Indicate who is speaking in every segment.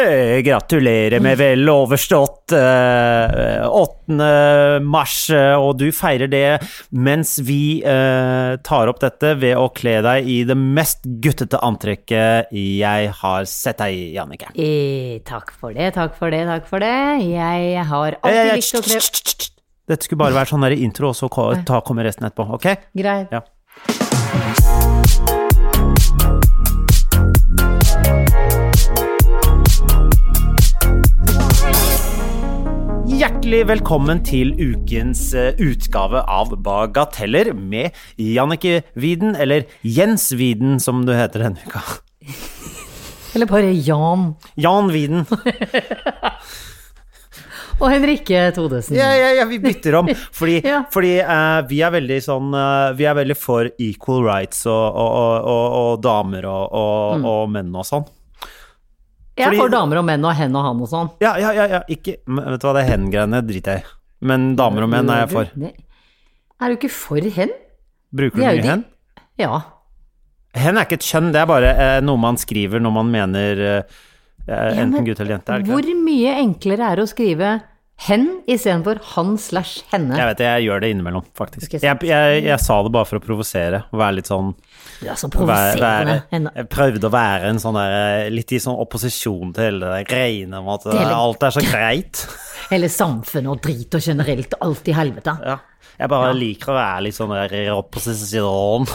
Speaker 1: Eh, gratulerer med vel overstått eh, 8. mars, eh, og du feirer det mens vi eh, tar opp dette ved å kle deg i det mest guttete antrekket jeg har sett deg i, Jannicke.
Speaker 2: Eh, takk for det, takk for det, takk for det. Jeg har alltid
Speaker 1: Eh,
Speaker 2: likt å kle
Speaker 1: Dette skulle bare være sånn der intro, og så ko- ta, kommer resten etterpå, ok?
Speaker 2: Greit.
Speaker 1: Ja. Hjertelig velkommen til ukens eh, utgave av Bagateller med Jannicke Widen, eller Jens Widen som du heter denne uka.
Speaker 2: Eller bare Jan.
Speaker 1: Jan Widen.
Speaker 2: Og Henrikke Todesen.
Speaker 1: Ja, ja, ja, vi bytter om. Fordi,
Speaker 2: Ja.
Speaker 1: fordi eh, vi er veldig sånn eh, Vi er veldig for equal rights og, og, og, og, og damer og, og, og menn og sånn.
Speaker 2: jeg
Speaker 1: fordi-
Speaker 2: får damer og menn og hen og han og sånn.
Speaker 1: Ja, ja, ja, ja. Ikke men Vet du hva, det hen-greiene driter jeg i. Men damer og menn er jeg for.
Speaker 2: Nei. Er du ikke for hen?
Speaker 1: Bruker
Speaker 2: Det
Speaker 1: du
Speaker 2: er jo
Speaker 1: mye hen?
Speaker 2: Ja.
Speaker 1: Hen er ikke et kjønn, det er bare eh, noe man skriver når man mener eh, eh,
Speaker 2: men
Speaker 1: enten gutt eller jente. Er det ikke?
Speaker 2: Hvor mye enklere er det å skrive hen istedenfor han slash
Speaker 1: det?
Speaker 2: henne?
Speaker 1: Jeg vet det, jeg gjør det innimellom, faktisk.
Speaker 2: Skal jeg
Speaker 1: Jeg,
Speaker 2: se.
Speaker 1: jeg, jeg, sa det bare for å provosere. og Være litt sånn
Speaker 2: Du er
Speaker 1: Være-
Speaker 2: så provoserende.
Speaker 1: være-
Speaker 2: Henne.
Speaker 1: Jeg prøvde å være en sånn der, eh, litt i sånn opposisjon til hele det greiene om at eh,
Speaker 2: Hele-
Speaker 1: alt er så greit.
Speaker 2: Hele samfunnet og drit og generelt alt i helvete.
Speaker 1: Ja. Jeg bare liker å være litt sånn der i opposisjon,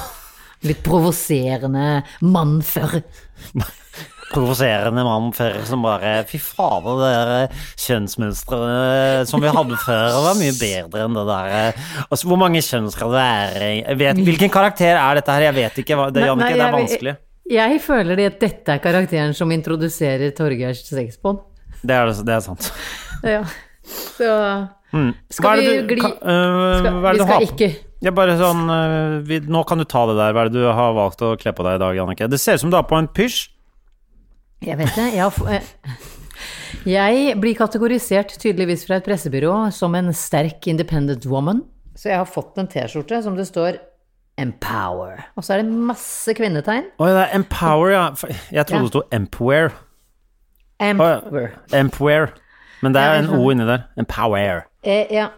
Speaker 2: Litt provoserende mann før.
Speaker 1: provoserende mann før som bare Fy fader, det der eh, kjønnsmønsteret som vi hadde før, var mye bedre enn det der. eh. Altså, hvor mange kjønn skal det være? Jeg vet, hvilken karakter er dette her? Jeg vet ikke, hva- det,
Speaker 2: Nei,
Speaker 1: Jannicke,
Speaker 2: nei,
Speaker 1: det er
Speaker 2: jeg-
Speaker 1: vanskelig.
Speaker 2: Jeg føler det at dette er karakteren som introduserer Torgeirs sexbånd.
Speaker 1: Det er, det er sant.
Speaker 2: Ja. Så
Speaker 1: Mm. Hva
Speaker 2: skal
Speaker 1: er
Speaker 2: vi
Speaker 1: det du-
Speaker 2: gli
Speaker 1: ka- eh,
Speaker 2: skal,
Speaker 1: hva er det du
Speaker 2: Vi
Speaker 1: har
Speaker 2: skal
Speaker 1: på?
Speaker 2: ikke
Speaker 1: Jeg bare sånn øh, vi, Nå kan du ta det der. Hva er det du har valgt å kle på deg i dag, Jannicke? Det ser ut som du har på en pysj.
Speaker 2: Jeg vet det. Jeg, har f- eh, jeg blir kategorisert tydeligvis fra et pressebyrå som en sterk independent woman. Så jeg har fått en T-skjorte som det står Empower. Og så er det masse kvinnetegn.
Speaker 1: Oi, det er Empower, ja. For- Jeg trodde
Speaker 2: Ja.
Speaker 1: det sto Empower.
Speaker 2: Empower.
Speaker 1: Empower. Men det er
Speaker 2: Ja, det
Speaker 1: en O inni der. Empower.
Speaker 2: Eh, ja.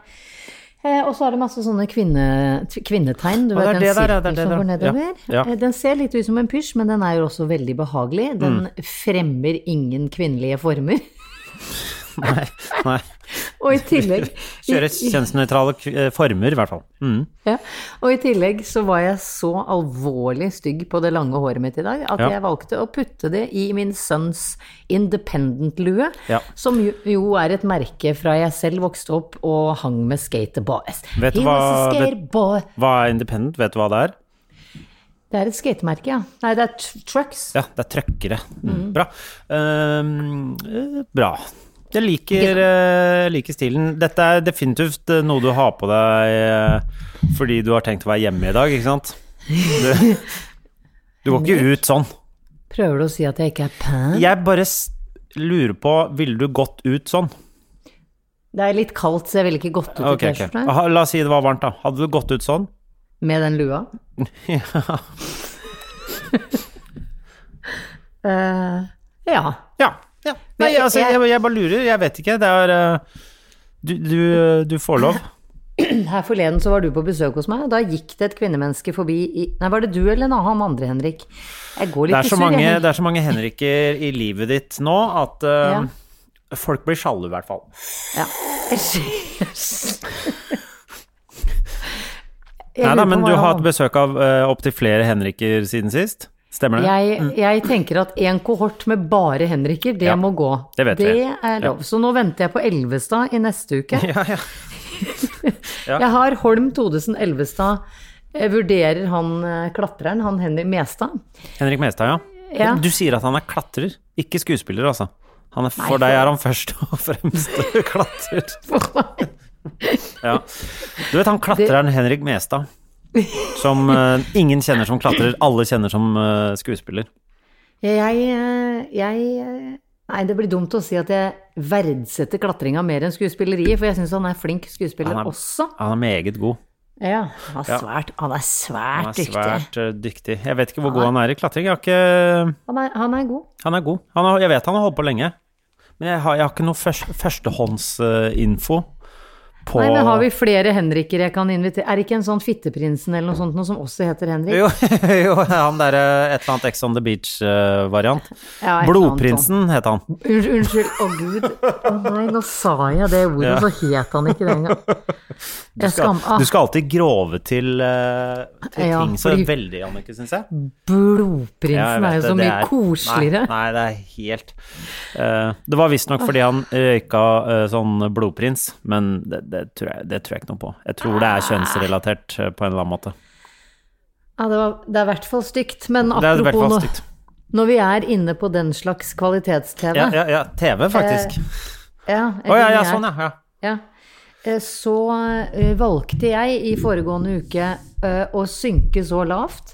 Speaker 2: Eh, og så er det masse sånne kvinne, t- kvinnetegn.
Speaker 1: Å, det
Speaker 2: Du vet
Speaker 1: er
Speaker 2: den
Speaker 1: det der, ja, det er det
Speaker 2: sirkel som
Speaker 1: der.
Speaker 2: går nedover.
Speaker 1: Ja, ja. Mm.
Speaker 2: Eh, Den ser litt ut som en pysj, men den er jo også veldig behagelig. Den fremmer ingen kvinnelige former.
Speaker 1: Nei. nei.
Speaker 2: Og i tillegg
Speaker 1: Kjører kjønnsnøytrale k- eh, former, i hvert fall. Mm.
Speaker 2: Ja. Og i tillegg så var jeg så alvorlig stygg på det lange håret mitt i dag at
Speaker 1: Ja.
Speaker 2: jeg valgte å putte det i min sønns Independent-lue,
Speaker 1: Ja.
Speaker 2: som jo, jo er et merke fra jeg selv vokste opp og hang med skaterboys.
Speaker 1: Vet du
Speaker 2: He was a
Speaker 1: hva- vet-
Speaker 2: skateboy.
Speaker 1: Hva er independent? Vet du hva det er?
Speaker 2: Det er et skatemerke, ja. Nei, det er tr- trucks.
Speaker 1: Ja, det er trøkkere. Mm. Bra. Ehm, eh, bra. Jeg liker, eh, liker stilen. Dette er definitivt eh, noe du har på deg eh, fordi du har tenkt å være hjemme i dag, ikke sant? Du, du går ikke ut sånn.
Speaker 2: Prøver du å si at jeg ikke er pen?
Speaker 1: Jeg bare s- lurer på, ville du gått ut sånn?
Speaker 2: Det er litt kaldt, så jeg ville ikke gått ut i
Speaker 1: Ok, Ah. ok.
Speaker 2: T-skjorta
Speaker 1: Aha, La oss si det var varmt, da. Hadde du gått ut sånn?
Speaker 2: med den lua.
Speaker 1: Ja.
Speaker 2: Eh, ja.
Speaker 1: Ja. ja. Nei,
Speaker 2: Men
Speaker 1: altså,
Speaker 2: jeg-
Speaker 1: jeg, jeg bare lurer. Jeg vet ikke. Det er eh, Du, du, du får lov.
Speaker 2: Her forleden så var du på besøk hos meg, og da gikk det et kvinnemenneske forbi i Nei, var det du eller en annen han andre, Henrik? Jeg
Speaker 1: Det
Speaker 2: går litt
Speaker 1: er, så
Speaker 2: i surr,
Speaker 1: mange,
Speaker 2: jeg.
Speaker 1: det er så mange Henriker i livet ditt nå at eh,
Speaker 2: Ja.
Speaker 1: folk blir sjalu, i hvert fall.
Speaker 2: Ja. Æsj. Jeg
Speaker 1: Nei
Speaker 2: lurer
Speaker 1: da,
Speaker 2: på
Speaker 1: men
Speaker 2: hva
Speaker 1: du
Speaker 2: jeg
Speaker 1: har hatt besøk av uh, opptil flere Henriker siden sist. Stemmer det?
Speaker 2: Jeg, jeg tenker at en kohort med bare Henriker, det
Speaker 1: Mm. Ja,
Speaker 2: må gå.
Speaker 1: det vet vi.
Speaker 2: er lov. Så nå venter jeg på Elvestad i neste uke.
Speaker 1: Ja, ja. Ja.
Speaker 2: Jeg har Holm Todesen Elvestad. Jeg vurderer han eh, klatreren, han Henrik Mestad.
Speaker 1: Henrik Mestad, ja.
Speaker 2: Ja.
Speaker 1: Du sier at han er klatrer, ikke skuespiller, altså. Han er, for
Speaker 2: for-
Speaker 1: deg er han først og fremst klatrer. Ja. Du vet han klatreren Henrik Mestad, som eh, ingen kjenner som klatrer, alle kjenner som eh, skuespiller.
Speaker 2: Jeg, eh, jeg eh, Nei, det blir dumt å si at jeg verdsetter klatringa mer enn skuespilleriet, for jeg syns han er flink skuespiller
Speaker 1: Han er-
Speaker 2: også.
Speaker 1: Han er meget god.
Speaker 2: Ja, han er
Speaker 1: Ja.
Speaker 2: svært, han er
Speaker 1: Han
Speaker 2: svært
Speaker 1: er
Speaker 2: dyktig.
Speaker 1: svært eh, dyktig. Jeg vet ikke hvor god han er i klatring. Jeg har ikke
Speaker 2: Han er, han er god.
Speaker 1: Han er god. Han har, jeg vet han har holdt på lenge. Men jeg har, jeg har ikke noe først, førstehåndsinfo på
Speaker 2: Nei, men har vi flere Henriker jeg kan invitere? Er det ikke en sånn Fitteprinsen eller noe sånt noe som også heter Henrik?
Speaker 1: Jo, jo han derre et eller annet Ex on the Beach-variant.
Speaker 2: Ja, et eller annet
Speaker 1: Blodprinsen het han.
Speaker 2: Unnskyld, unnskyld. Å gud. Å nei, nå sa jeg det ordet,
Speaker 1: Ja.
Speaker 2: så het han ikke det engang. Jeg skam... Ah,
Speaker 1: Du skal alltid grove til, eh, til
Speaker 2: Ja,
Speaker 1: ting så
Speaker 2: fordi-
Speaker 1: veldig, Annike, syns jeg. Ja, jeg
Speaker 2: Blodprinsen
Speaker 1: vet
Speaker 2: er jo
Speaker 1: det,
Speaker 2: så
Speaker 1: det
Speaker 2: mye
Speaker 1: er-
Speaker 2: koseligere.
Speaker 1: Nei, nei, det er helt eh, Det var visstnok fordi han røyka eh, sånn blodprins, men det, det, tror jeg, det tror jeg ikke noe på. Jeg tror det er kjønnsrelatert eh, på en eller annen måte.
Speaker 2: Ja, det, var, det er i hvert fall stygt. Men
Speaker 1: Det er i hvert
Speaker 2: apropos
Speaker 1: fall
Speaker 2: nå,
Speaker 1: stygt.
Speaker 2: når vi er inne på den slags kvalitets-TV
Speaker 1: Ja, ja, ja, TV, faktisk.
Speaker 2: Ja,
Speaker 1: Å ja, ja,
Speaker 2: Eh, jeg-
Speaker 1: sånn, ja. ja.
Speaker 2: Ja. Eh, Så eh, valgte jeg i foregående uke eh, å synke så lavt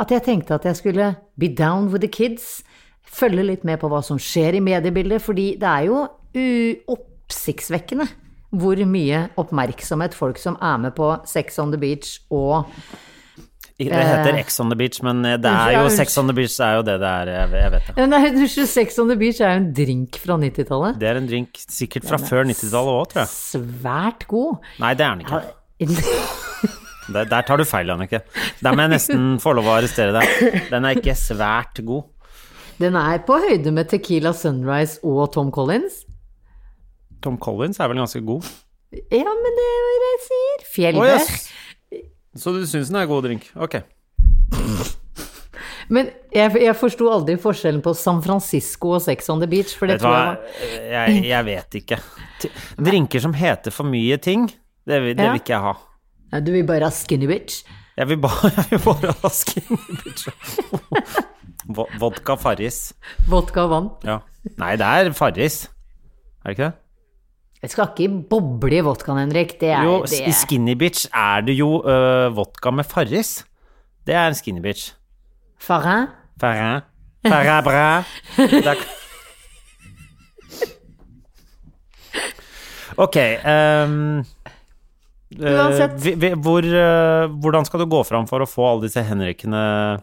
Speaker 2: at jeg tenkte at jeg skulle be down with the kids. Følge litt med på hva som skjer i mediebildet, fordi det er jo uoppsiktsvekkende hvor mye oppmerksomhet folk som er med på Sex on the Beach og
Speaker 1: I- Det heter Ex on the Beach, men eh, det er
Speaker 2: Eh. ja,
Speaker 1: jo
Speaker 2: unnskyld.
Speaker 1: Sex on the Beach det er jo det det er. Jeg jeg vet det.
Speaker 2: Eh, Nei, unnskyld, Sex on the Beach er jo en drink fra 90-tallet.
Speaker 1: Det er en drink sikkert fra før 90-tallet òg, tror jeg.
Speaker 2: Svært god.
Speaker 1: Nei, det er den ikke. Der, der tar du feil, Annike. Der må jeg nesten få lov å arrestere deg. Den er ikke svært god.
Speaker 2: Den er på høyde med Tequila Sunrise og Tom Collins.
Speaker 1: Tom Collins er vel ganske god.
Speaker 2: Ja, men det er hva jeg sier. Fjellbær.
Speaker 1: Så du syns den er god drink? Ok.
Speaker 2: Men jeg, jeg forsto aldri forskjellen på San Francisco og Sex on the Beach, for det
Speaker 1: Vet du
Speaker 2: tror
Speaker 1: hva,
Speaker 2: jeg var
Speaker 1: jeg, jeg vet ikke. T- Drinker som heter for mye ting, det, vil- det
Speaker 2: Ja.
Speaker 1: vil ikke jeg ha.
Speaker 2: Nei, Du vil bare ha skinny bitch.
Speaker 1: Jeg vil bare, jeg vil bare ha skinny bitch. Vo- Vodka Farris.
Speaker 2: Vodka og vann.
Speaker 1: Ja. Nei, det er Farris. Er det ikke det?
Speaker 2: Jeg skal ikke boble i vodkaen, Henrik. Det er
Speaker 1: Jo,
Speaker 2: det.
Speaker 1: i Skinny Bitch er det jo øh, vodka med Farris. Det er en Skinny Bitch.
Speaker 2: Farin?
Speaker 1: Farrin. Farrin bra. Det er- Ok. ehm, øh,
Speaker 2: Uansett.
Speaker 1: vi, vi, hvor, øh, hvordan skal du gå fram for å få alle disse Henrikene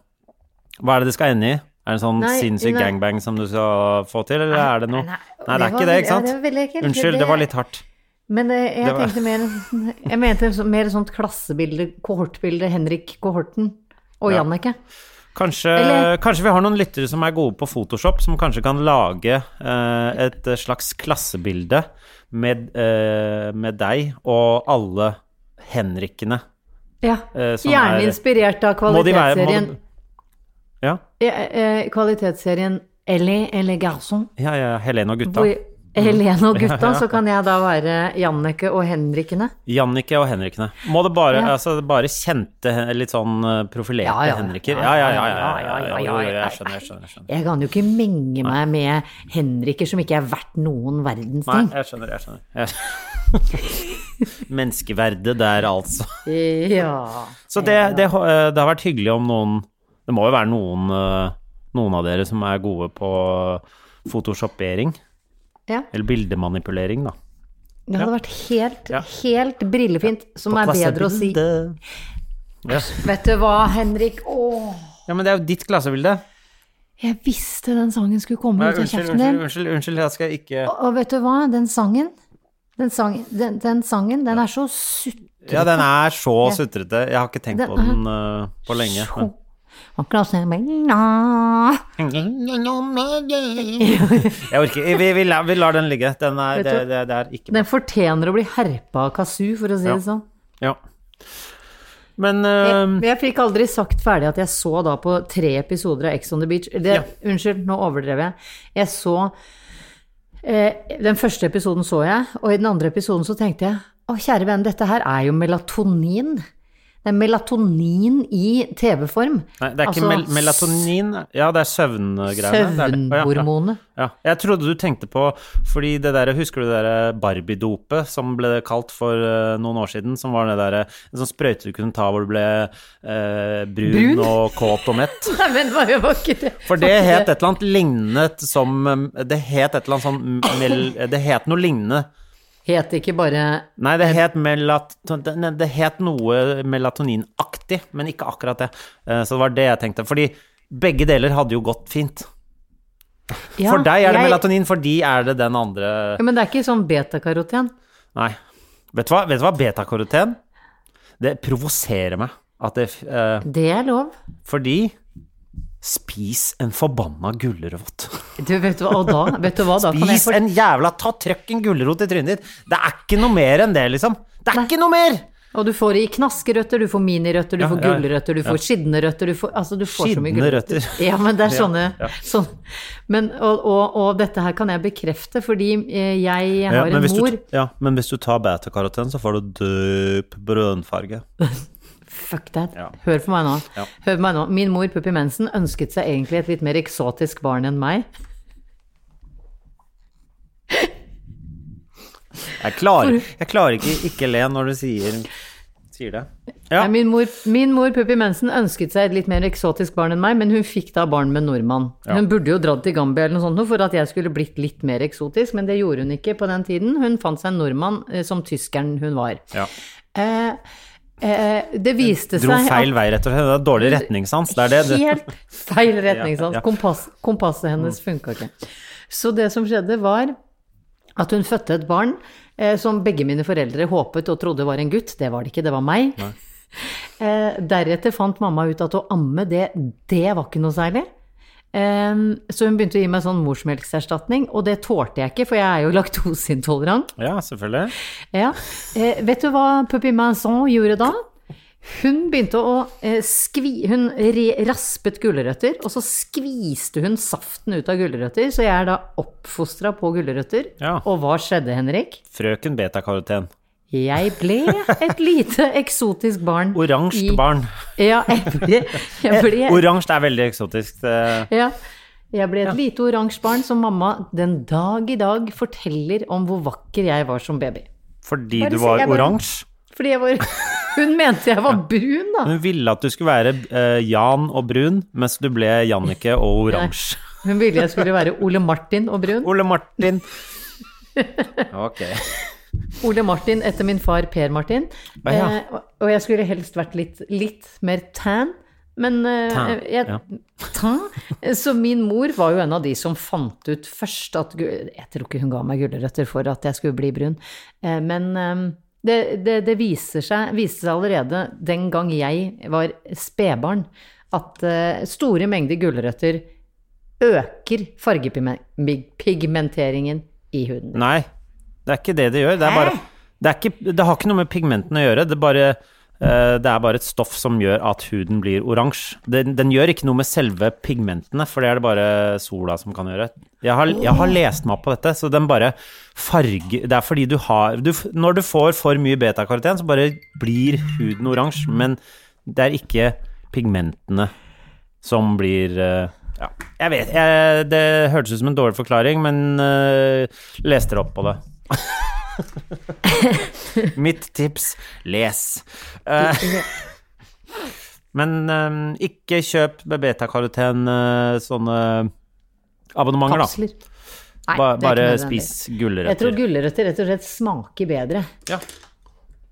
Speaker 1: Hva er det det skal ende i? Er det en sånn
Speaker 2: Nei,
Speaker 1: sinnssyk
Speaker 2: nei.
Speaker 1: gangbang som du skal få til, eller er det noe Nei,
Speaker 2: nei,
Speaker 1: det er ikke
Speaker 2: det var
Speaker 1: det,
Speaker 2: veldig-
Speaker 1: ikke sant?
Speaker 2: ja, det var veldig ekkelt.
Speaker 1: Unnskyld, det
Speaker 2: Det-
Speaker 1: var litt hardt.
Speaker 2: Men
Speaker 1: Det
Speaker 2: eh, jeg
Speaker 1: var-
Speaker 2: tenkte mer Jeg mente så- mer sånt klassebilde, kohortbilde, Henrik kohorten og
Speaker 1: Ja.
Speaker 2: Jannicke.
Speaker 1: Kanskje,
Speaker 2: Eller-
Speaker 1: kanskje vi har noen lyttere som er gode på Photoshop, som kanskje kan lage eh, et slags klassebilde med, eh, med deg og alle Henrikene.
Speaker 2: Ja.
Speaker 1: eh, som
Speaker 2: Gjerne
Speaker 1: er-
Speaker 2: inspirert av
Speaker 1: Må de være- må
Speaker 2: kvalitetsserien,
Speaker 1: de- Ja,
Speaker 2: ja, eh, kvalitetsserien Ellie eller Garson.
Speaker 1: ja, ja, Helene og gutta. Mm.
Speaker 2: Hvor Helene og gutta,
Speaker 1: Ja, ja.
Speaker 2: så kan jeg da være Jannicke og Henrikene.
Speaker 1: Jannicke og Henrikene. Må det bare,
Speaker 2: Ja.
Speaker 1: altså, det bare kjente, hen- litt sånn eh, profilerte
Speaker 2: Ja, ja, ja.
Speaker 1: Henriker? Ja, ja, ja. ja, ja, ja,
Speaker 2: Ja, ja,
Speaker 1: jo, jo,
Speaker 2: ja, ja.
Speaker 1: jeg skjønner, jeg skjønner. Jeg skjønner.
Speaker 2: Jeg kan jo ikke menge meg med Henriker som ikke er verdt noen verdens
Speaker 1: Nei,
Speaker 2: ting.
Speaker 1: jeg skjønner, jeg skjønner. Jeg... Menneskeverdet der, altså.
Speaker 2: Ja.
Speaker 1: Så det, det, ho- eh, det har vært hyggelig om noen Det må jo være noen, eh, noen av dere som er gode på photoshoppering.
Speaker 2: ja.
Speaker 1: Eller bildemanipulering, da.
Speaker 2: Det hadde vært helt,
Speaker 1: Ja.
Speaker 2: helt brillefint, som er bedre å si.
Speaker 1: Klassebilde. Ja.
Speaker 2: Vet du hva, Henrik? Åh,
Speaker 1: ja, men det er jo ditt klassebilde.
Speaker 2: jeg visste den sangen skulle komme
Speaker 1: Nei,
Speaker 2: ut av
Speaker 1: unnskyld,
Speaker 2: kjeften
Speaker 1: unnskyld,
Speaker 2: din.
Speaker 1: unnskyld, unnskyld, jeg skal ikke
Speaker 2: Og, og vet du hva, den sangen, den sangen, den, den, sangen, den er så sutt...
Speaker 1: Ja, den er så sutrete. Jeg har ikke tenkt
Speaker 2: Den
Speaker 1: på den eh, på lenge.
Speaker 2: Så... Og klassen Nei.
Speaker 1: Jeg orker Vi, vi, la- vi lar den ligge. Den er,
Speaker 2: Vet du-
Speaker 1: det, det, det er ikke bra.
Speaker 2: Den fortjener å bli herpa av Kazoo, for å si
Speaker 1: Ja.
Speaker 2: det sånn.
Speaker 1: Ja. Men
Speaker 2: Jeg,
Speaker 1: eh,
Speaker 2: jeg fikk aldri sagt ferdig at jeg så da på tre episoder av Ex on the Beach. Det, Unnskyld, nå overdrev jeg. Jeg så eh, Den første episoden så jeg, og i den andre episoden så tenkte jeg å, kjære venn, dette her er jo melatonin. Det er melatonin i TV-form.
Speaker 1: Nei, det er ikke
Speaker 2: Altså,
Speaker 1: mel melatonin Ja, det er søvngreiene. Det er det. Å, ja,
Speaker 2: Søvnhormonet.
Speaker 1: Ja, jeg trodde du tenkte på Fordi det der, husker du det der eh, Barbie-dopet som ble kalt for eh, noen år siden? Som var det der, en sånn sprøyte du kunne ta hvor du ble eh, brun,
Speaker 2: Brun?
Speaker 1: og kåt og mett.
Speaker 2: Nei, men hva var ikke det?
Speaker 1: For det het et eller annet lignende som eh, Det het et eller annet sånn mel, Det het noe lignende.
Speaker 2: Het det ikke bare
Speaker 1: Nei, det het, melat, nei, det het noe melatoninaktig, men ikke akkurat det. Eh, Så det var det jeg tenkte. Fordi begge deler hadde jo gått fint.
Speaker 2: Ja,
Speaker 1: For deg er det
Speaker 2: jeg-
Speaker 1: melatonin, for de er det den andre
Speaker 2: Ja, men det er ikke sånn betakaroten.
Speaker 1: Nei. Vet du hva, Vet du hva betakaroten Det provoserer meg. At det, eh,
Speaker 2: Det er lov.
Speaker 1: fordi Spis en forbanna gulrot.
Speaker 2: Du, vet du hva, og da, vet du hva, da kan jeg
Speaker 1: Spis
Speaker 2: for...
Speaker 1: en jævla Ta trøkk en gulrot i trynet ditt. Det er ikke noe mer enn det, liksom. Det er ikke noe mer!
Speaker 2: Og du får i knaskerøtter, du får minirøtter, du
Speaker 1: Ja,
Speaker 2: får
Speaker 1: ja, ja.
Speaker 2: gulrøtter, du får skitne røtter, du får Altså, du får så
Speaker 1: Skitne
Speaker 2: mye gulrøtter.
Speaker 1: røtter.
Speaker 2: Ja, men det er
Speaker 1: Ja,
Speaker 2: sånne, sånn. men, og, og, og dette her kan jeg bekrefte, fordi eh, jeg
Speaker 1: Ja,
Speaker 2: har
Speaker 1: men,
Speaker 2: en
Speaker 1: hvis
Speaker 2: mor
Speaker 1: du, ja, men hvis du tar betakaroten, så får du dyp brønnfarge.
Speaker 2: Fuck that.
Speaker 1: Ja.
Speaker 2: Hør på meg nå.
Speaker 1: Ja.
Speaker 2: Hør på meg nå. Min mor, Puppi Mensen, ønsket seg egentlig et litt mer eksotisk barn enn meg.
Speaker 1: Jeg klarer, jeg klarer ikke ikke le når du sier, sier det. Ja.
Speaker 2: Nei, Min mor, min mor Puppi Mensen ønsket seg et litt mer eksotisk barn enn meg, men hun fikk da barn med nordmann. Hun burde jo dratt til Gambia eller noe sånt nå for at jeg skulle blitt litt mer eksotisk, men det gjorde hun ikke på den tiden. Hun fant seg en nordmann eh, som tyskeren hun var.
Speaker 1: Ja.
Speaker 2: Eh, eh, det viste
Speaker 1: Dro
Speaker 2: seg
Speaker 1: feil vei, rett og slett. Det er dårlig retningssans. Det er det.
Speaker 2: at helt feil retning,
Speaker 1: Ja,
Speaker 2: sant.
Speaker 1: ja. Mm.
Speaker 2: Kompass, kompasset hennes funka ikke. Så det som skjedde, var at hun fødte et barn eh, som begge mine foreldre håpet og trodde var en gutt. Det var det ikke, det var meg. Eh, deretter fant mamma ut at å amme, det, det var ikke noe særlig. Eh, så hun begynte å gi meg sånn morsmelkserstatning, og det tålte jeg ikke, for jeg er jo laktoseintolerant.
Speaker 1: Ja, selvfølgelig.
Speaker 2: Ja. Eh, vet du hva Puppy Manson gjorde da? Hun begynte å eh, skvi... Hun re raspet gulrøtter, og så skviste hun saften ut av gulrøtter. Så jeg er da oppfostra på gulrøtter.
Speaker 1: Ja.
Speaker 2: Og hva skjedde, Henrik?
Speaker 1: Frøken betakaroten.
Speaker 2: Jeg ble et lite eksotisk barn.
Speaker 1: Oransje
Speaker 2: i-
Speaker 1: barn.
Speaker 2: Ja, jeg ble, jeg ble
Speaker 1: Oransje er veldig eksotisk. eh, det-
Speaker 2: Ja. Jeg ble et lite oransje barn som mamma den dag i dag forteller om hvor vakker jeg var som baby.
Speaker 1: Fordi
Speaker 2: Bare
Speaker 1: du
Speaker 2: si-
Speaker 1: var
Speaker 2: jeg bare-
Speaker 1: oransje.
Speaker 2: Fordi jeg var Hun mente jeg var brun, da.
Speaker 1: Hun ville at du skulle være eh, Jan og brun, mens du ble Jannicke og oransje.
Speaker 2: Hun ville jeg skulle være Ole Martin og brun.
Speaker 1: Ole Martin. Ok.
Speaker 2: Ole Martin etter min far Per Martin.
Speaker 1: Ah, ja.
Speaker 2: Eh, og- og jeg skulle helst vært litt, litt mer tan. Men eh,
Speaker 1: Tan,
Speaker 2: jeg,
Speaker 1: ja.
Speaker 2: tan. Eh, Så min mor var jo en av de som fant ut først at gu- Jeg tror ikke hun ga meg gulrøtter for at jeg skulle bli brun. Eh, men eh, det, det, det viser seg, viste seg allerede den gang jeg var spedbarn, at eh, store mengder gulrøtter øker fargepigmenteringen i huden.
Speaker 1: Nei, det er ikke det det gjør. Det, er bare, det, er ikke, det har ikke noe med pigmentene å gjøre. Det er, bare, eh, det er bare et stoff som gjør at huden blir oransje. Den, den gjør ikke noe med selve pigmentene, for det er det bare sola som kan gjøre. Jeg har, jeg har lest meg opp på dette, så den bare farge... Det er fordi du har du, f- Når du får for mye betakaroten, så bare blir huden oransje, men det er ikke pigmentene som blir eh, ja, jeg vet, jeg, Det hørtes ut som en dårlig forklaring, men eh, les dere opp på det. Mitt tips les. Eh, men eh, ikke kjøp med betakaroten eh, sånne abonnementer, da.
Speaker 2: Kapsler. Nei,
Speaker 1: Ba,
Speaker 2: det er
Speaker 1: bare
Speaker 2: ikke nødvendig.
Speaker 1: spis
Speaker 2: Jeg tror
Speaker 1: gulrøtter.
Speaker 2: gulrøtter rett og slett smaker bedre.
Speaker 1: Ja.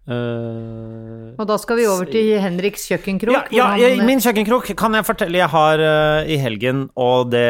Speaker 1: Eh,
Speaker 2: Og da skal vi over til Henriks kjøkkenkrok.
Speaker 1: Ja, ja
Speaker 2: hvor han-
Speaker 1: jeg, min kjøkkenkrok kan jeg fortelle jeg har eh, i helgen, og det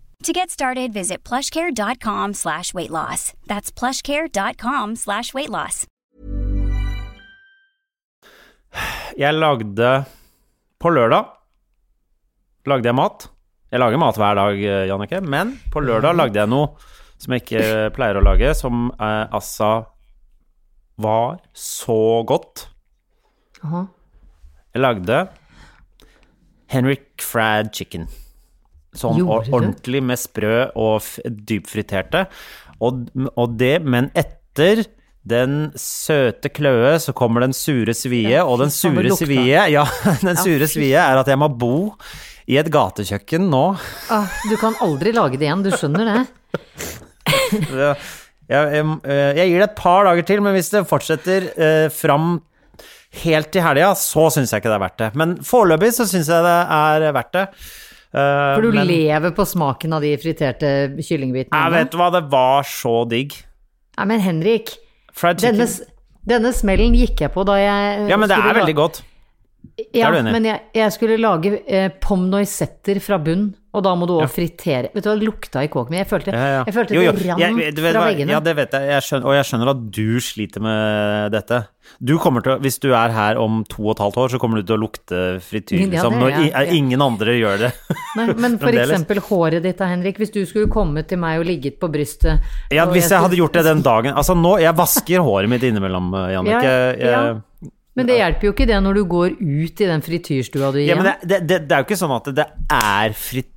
Speaker 3: To get started, visit plushcare.com slash weight loss. That's plushcare.com slash weight loss.
Speaker 1: Jeg lagde På lørdag lagde jeg mat. Jeg lager mat hver dag, eh, Jannicke, men på lørdag lagde jeg noe som jeg ikke eh, pleier å lage, som eh, altså var så godt.
Speaker 2: Aha.
Speaker 1: Jeg lagde Henrik Fried Chicken. Sånn
Speaker 2: Gjorde du?
Speaker 1: ordentlig med sprø og f- dypfriterte. Og, og det, men etter den søte kløe, så kommer den sure svie, og den
Speaker 2: faen, det
Speaker 1: sure
Speaker 2: lukta.
Speaker 1: svie Ja, den sure
Speaker 2: fy.
Speaker 1: svie er at jeg må bo i et gatekjøkken nå.
Speaker 2: Ah, du kan aldri lage det igjen, du skjønner det?
Speaker 1: Jeg, jeg, eh, jeg gir det et par dager til, men hvis det fortsetter eh, fram helt til helga, så syns jeg ikke det er verdt det. Men foreløpig så syns jeg det er verdt det. Eh,
Speaker 2: For du
Speaker 1: men-
Speaker 2: lever på smaken av de friterte kyllingbitene.
Speaker 1: Jeg vet du hva, det var så digg.
Speaker 2: Nei, men Henrik,
Speaker 1: Fried chicken.
Speaker 2: denne, s- denne smellen gikk jeg på da jeg
Speaker 1: ja, men det er veldig godt.
Speaker 2: Ja,
Speaker 1: er du enig i.
Speaker 2: men jeg, jeg skulle lage eh, pomnoisetter fra bunn, og da må du òg fritere Vet du hva det lukta i kåken min? Jeg følte,
Speaker 1: Ja, ja.
Speaker 2: Jeg følte
Speaker 1: Jo, jo,
Speaker 2: det rant
Speaker 1: jeg- du vet
Speaker 2: fra
Speaker 1: hva,
Speaker 2: veggene.
Speaker 1: Ja, det vet jeg, jeg skjønner, og jeg skjønner at du sliter med dette. Du kommer til, å- Hvis du er her om to og et halvt år, så kommer du til å lukte frityr,
Speaker 2: Ja, det
Speaker 1: liksom,
Speaker 2: er
Speaker 1: når
Speaker 2: jeg.
Speaker 1: i- ingen andre gjør det.
Speaker 2: Nei, men for
Speaker 1: fremdeles.
Speaker 2: eksempel håret ditt da, Henrik. Hvis du skulle komme til meg og ligget på brystet
Speaker 1: Ja,
Speaker 2: og
Speaker 1: hvis jeg hadde
Speaker 2: skulle-
Speaker 1: gjort det den dagen Altså, nå Jeg vasker håret mitt innimellom, eh, Jannicke.
Speaker 2: Ja, ja.
Speaker 1: Jeg-
Speaker 2: Men det hjelper jo ikke det når du går ut i den frityrstua du gir
Speaker 1: Ja, men
Speaker 2: hjem.
Speaker 1: det, det, det, det er jo ikke sånn at det er fritt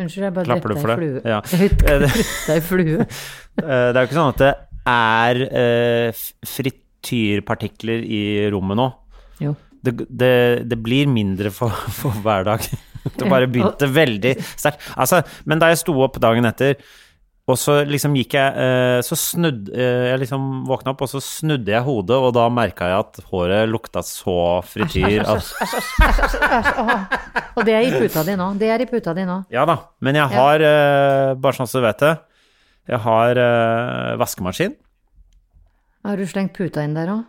Speaker 2: Unnskyld, jeg bare
Speaker 1: Klapper
Speaker 2: drepte
Speaker 1: du
Speaker 2: ei
Speaker 1: for
Speaker 2: flue.
Speaker 1: det? Ja.
Speaker 2: Jeg drepte ei flue.
Speaker 1: Eh, Det er jo ikke sånn at det er eh, f- frityrpartikler i rommet nå.
Speaker 2: Jo.
Speaker 1: Det, det, det blir mindre for, for hver dag. Det bare begynte veldig sterkt. Altså, men da jeg sto opp dagen etter, og så liksom gikk jeg eh, Så snudd, eh, Jeg liksom våkna opp, og så snudde jeg hodet, og da merka jeg at håret lukta så frityr. at-
Speaker 2: Og det er i puta di nå. Det er i puta di nå.
Speaker 1: Ja da. Men jeg har, eh, bare sånn så du vet det, jeg har eh, vaskemaskin.
Speaker 2: Har du slengt puta inn der òg?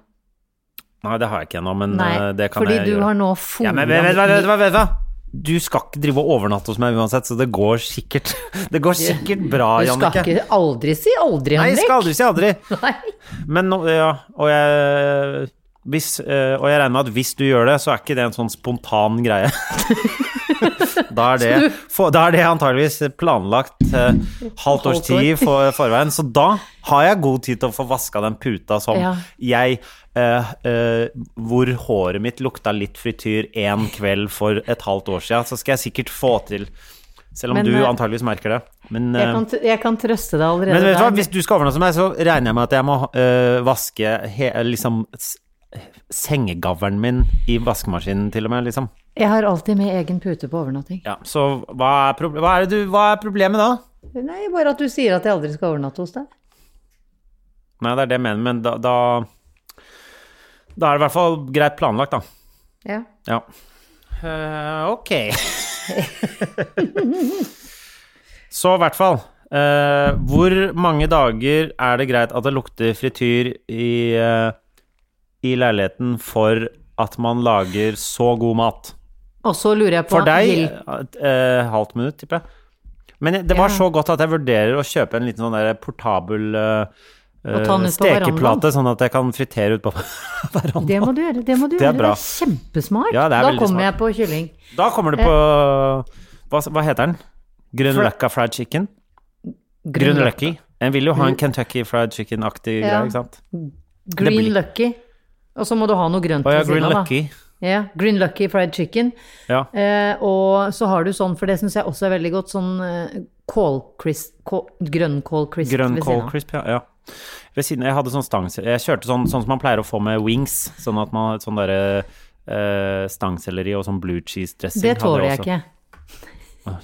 Speaker 1: Nei, det har jeg ikke ennå, men eh,
Speaker 2: Nei,
Speaker 1: det kan
Speaker 2: fordi
Speaker 1: jeg
Speaker 2: du
Speaker 1: gjøre.
Speaker 2: har nå
Speaker 1: Ja,
Speaker 2: fôret
Speaker 1: men vet vet- vet- vet- vet- vet- Du skal ikke drive og overnatte hos meg uansett, så det går sikkert Det går sikkert bra,
Speaker 2: Du skal
Speaker 1: Jannicke.
Speaker 2: ikke aldri si aldri,
Speaker 1: Nei, jeg
Speaker 2: Henrik.
Speaker 1: skal aldri si aldri.
Speaker 2: Nei.
Speaker 1: Men nå, ja, og jeg hvis, eh, Og jeg regner med at hvis du gjør det, så er ikke det en sånn spontan greie. Da er det, for, da er det antageligvis planlagt eh, halvt års
Speaker 2: Halvt år.
Speaker 1: tid for forveien. Så da har jeg god tid til å få vaska den puta som
Speaker 2: Ja.
Speaker 1: jeg eh, eh, Hvor håret mitt lukta litt frityr en kveld for et halvt år sia. Så skal jeg sikkert få til Selv om
Speaker 2: Men,
Speaker 1: du
Speaker 2: eh,
Speaker 1: antageligvis merker det. Men,
Speaker 2: Jeg
Speaker 1: eh,
Speaker 2: kan, t- jeg kan trøste deg allerede
Speaker 1: men vet du hva,
Speaker 2: der.
Speaker 1: hvis du skal overnatte hos meg, så regner jeg med at jeg må øh, vaske he, liksom s- sengegavlen min i vaskemaskinen, til og med, liksom.
Speaker 2: Jeg har alltid med egen pute på overnatting.
Speaker 1: Ja, så hva er, proble hva er, det du, hva er problemet da?
Speaker 2: Nei, bare at du sier at jeg aldri skal overnatte hos deg.
Speaker 1: Nei, det er det jeg mener, men da, da Da er det i hvert fall greit planlagt, da.
Speaker 2: Ja.
Speaker 1: Ja. Eh, ok. så i hvert fall eh, Hvor mange dager er det greit at det lukter frityr i, eh, i leiligheten for at man lager så god mat?
Speaker 2: Og så lurer jeg på
Speaker 1: For deg
Speaker 2: Hil-
Speaker 1: et eh, halvt minutt, tipper jeg. Men det var
Speaker 2: Ja.
Speaker 1: så godt at jeg vurderer å kjøpe en liten sånn der portabel eh,
Speaker 2: Og ta den
Speaker 1: eh,
Speaker 2: ut på verandaen.
Speaker 1: stekeplate, sånn at jeg kan fritere ut på verandaen.
Speaker 2: Det må du gjøre. Det må du
Speaker 1: er
Speaker 2: gjøre.
Speaker 1: bra.
Speaker 2: Det er kjempesmart.
Speaker 1: Ja, det er
Speaker 2: da
Speaker 1: veldig
Speaker 2: kommer
Speaker 1: smart.
Speaker 2: jeg på kylling.
Speaker 1: Da kommer du på Hva, hva heter den? Grønnløkka fried chicken?
Speaker 2: Green,
Speaker 1: Grønnløkki. En vil jo ha en Kentucky fried chicken-aktig
Speaker 2: Mm.
Speaker 1: greie,
Speaker 2: Ja.
Speaker 1: ikke sant?
Speaker 2: green
Speaker 1: blir-
Speaker 2: lucky. Og så må du ha noe grønt
Speaker 1: Å ja,
Speaker 2: ved siden
Speaker 1: green
Speaker 2: av, da.
Speaker 1: lucky.
Speaker 2: Ja, green lucky fried chicken.
Speaker 1: Ja.
Speaker 2: Eh, og så har du sånn, for det syns jeg også er veldig godt, sånn eh, kålcrisp kål, Grønnkål crisp
Speaker 1: Grønn
Speaker 2: ved
Speaker 1: cold
Speaker 2: siden av.
Speaker 1: crisp, ja. ja. Ved siden Jeg hadde sånn stangselleri Jeg kjørte sånn, sånn som man pleier å få med wings. Sånn at man har et sånn derre eh, stangselleri og sånn blue cheese dressing.
Speaker 2: Det tåler jeg ikke.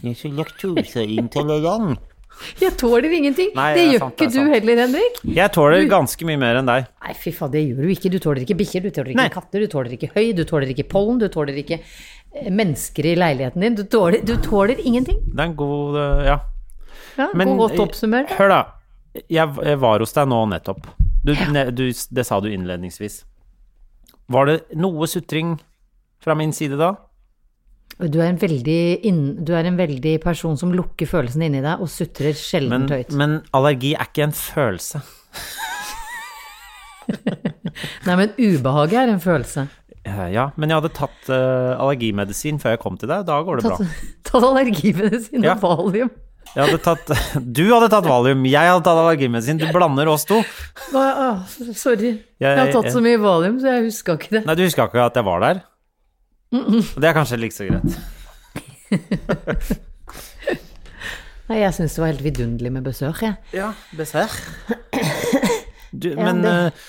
Speaker 1: Jeg er så laktoseintolerant.
Speaker 2: Jeg tåler ingenting.
Speaker 1: Nei,
Speaker 2: det
Speaker 1: det er
Speaker 2: gjør
Speaker 1: sant,
Speaker 2: ikke
Speaker 1: det er
Speaker 2: du
Speaker 1: sant.
Speaker 2: heller, Henrik.
Speaker 1: Jeg tåler ganske mye mer enn deg.
Speaker 2: Nei, fy faen, det gjør du ikke. Du tåler ikke bikkjer, du tåler ikke
Speaker 1: Nei.
Speaker 2: katter, du tåler ikke høy, du tåler ikke pollen, du tåler ikke eh, mennesker i leiligheten din. Du tåler, du tåler ingenting.
Speaker 1: Det er en god øh, Ja.
Speaker 2: Ja,
Speaker 1: Men- eh,
Speaker 2: godt oppsummert.
Speaker 1: Hør, da. Jeg, jeg var hos deg nå nettopp. Du, ne, du, det sa du innledningsvis. Var det noe sutring fra min side da?
Speaker 2: Du er en veldig, inn- du er en veldig person som lukker følelsene inni deg og sutrer
Speaker 1: Men,
Speaker 2: sjeldent høyt.
Speaker 1: men allergi er ikke en følelse.
Speaker 2: Nei, men ubehaget er en følelse.
Speaker 1: Eh, Ja, men jeg hadde tatt eh, allergimedisin før jeg kom til deg. Da går det bra.
Speaker 2: Tatt, tatt allergimedisin
Speaker 1: Ja.
Speaker 2: og valium.
Speaker 1: Jeg hadde tatt, du hadde tatt valium, jeg hadde tatt allergimedisin. Du blander oss to.
Speaker 2: Å, ja, å, ah, sorry. Jeg, har tatt så mye valium, så jeg huska ikke det.
Speaker 1: Nei, du huska ikke at jeg var der? Det er kanskje like så greit.
Speaker 2: Nei, jeg syns det var helt vidunderlig med besøk, jeg.
Speaker 1: Ja, dessverre. Du,
Speaker 2: Ja,
Speaker 1: men
Speaker 2: det-
Speaker 1: eh,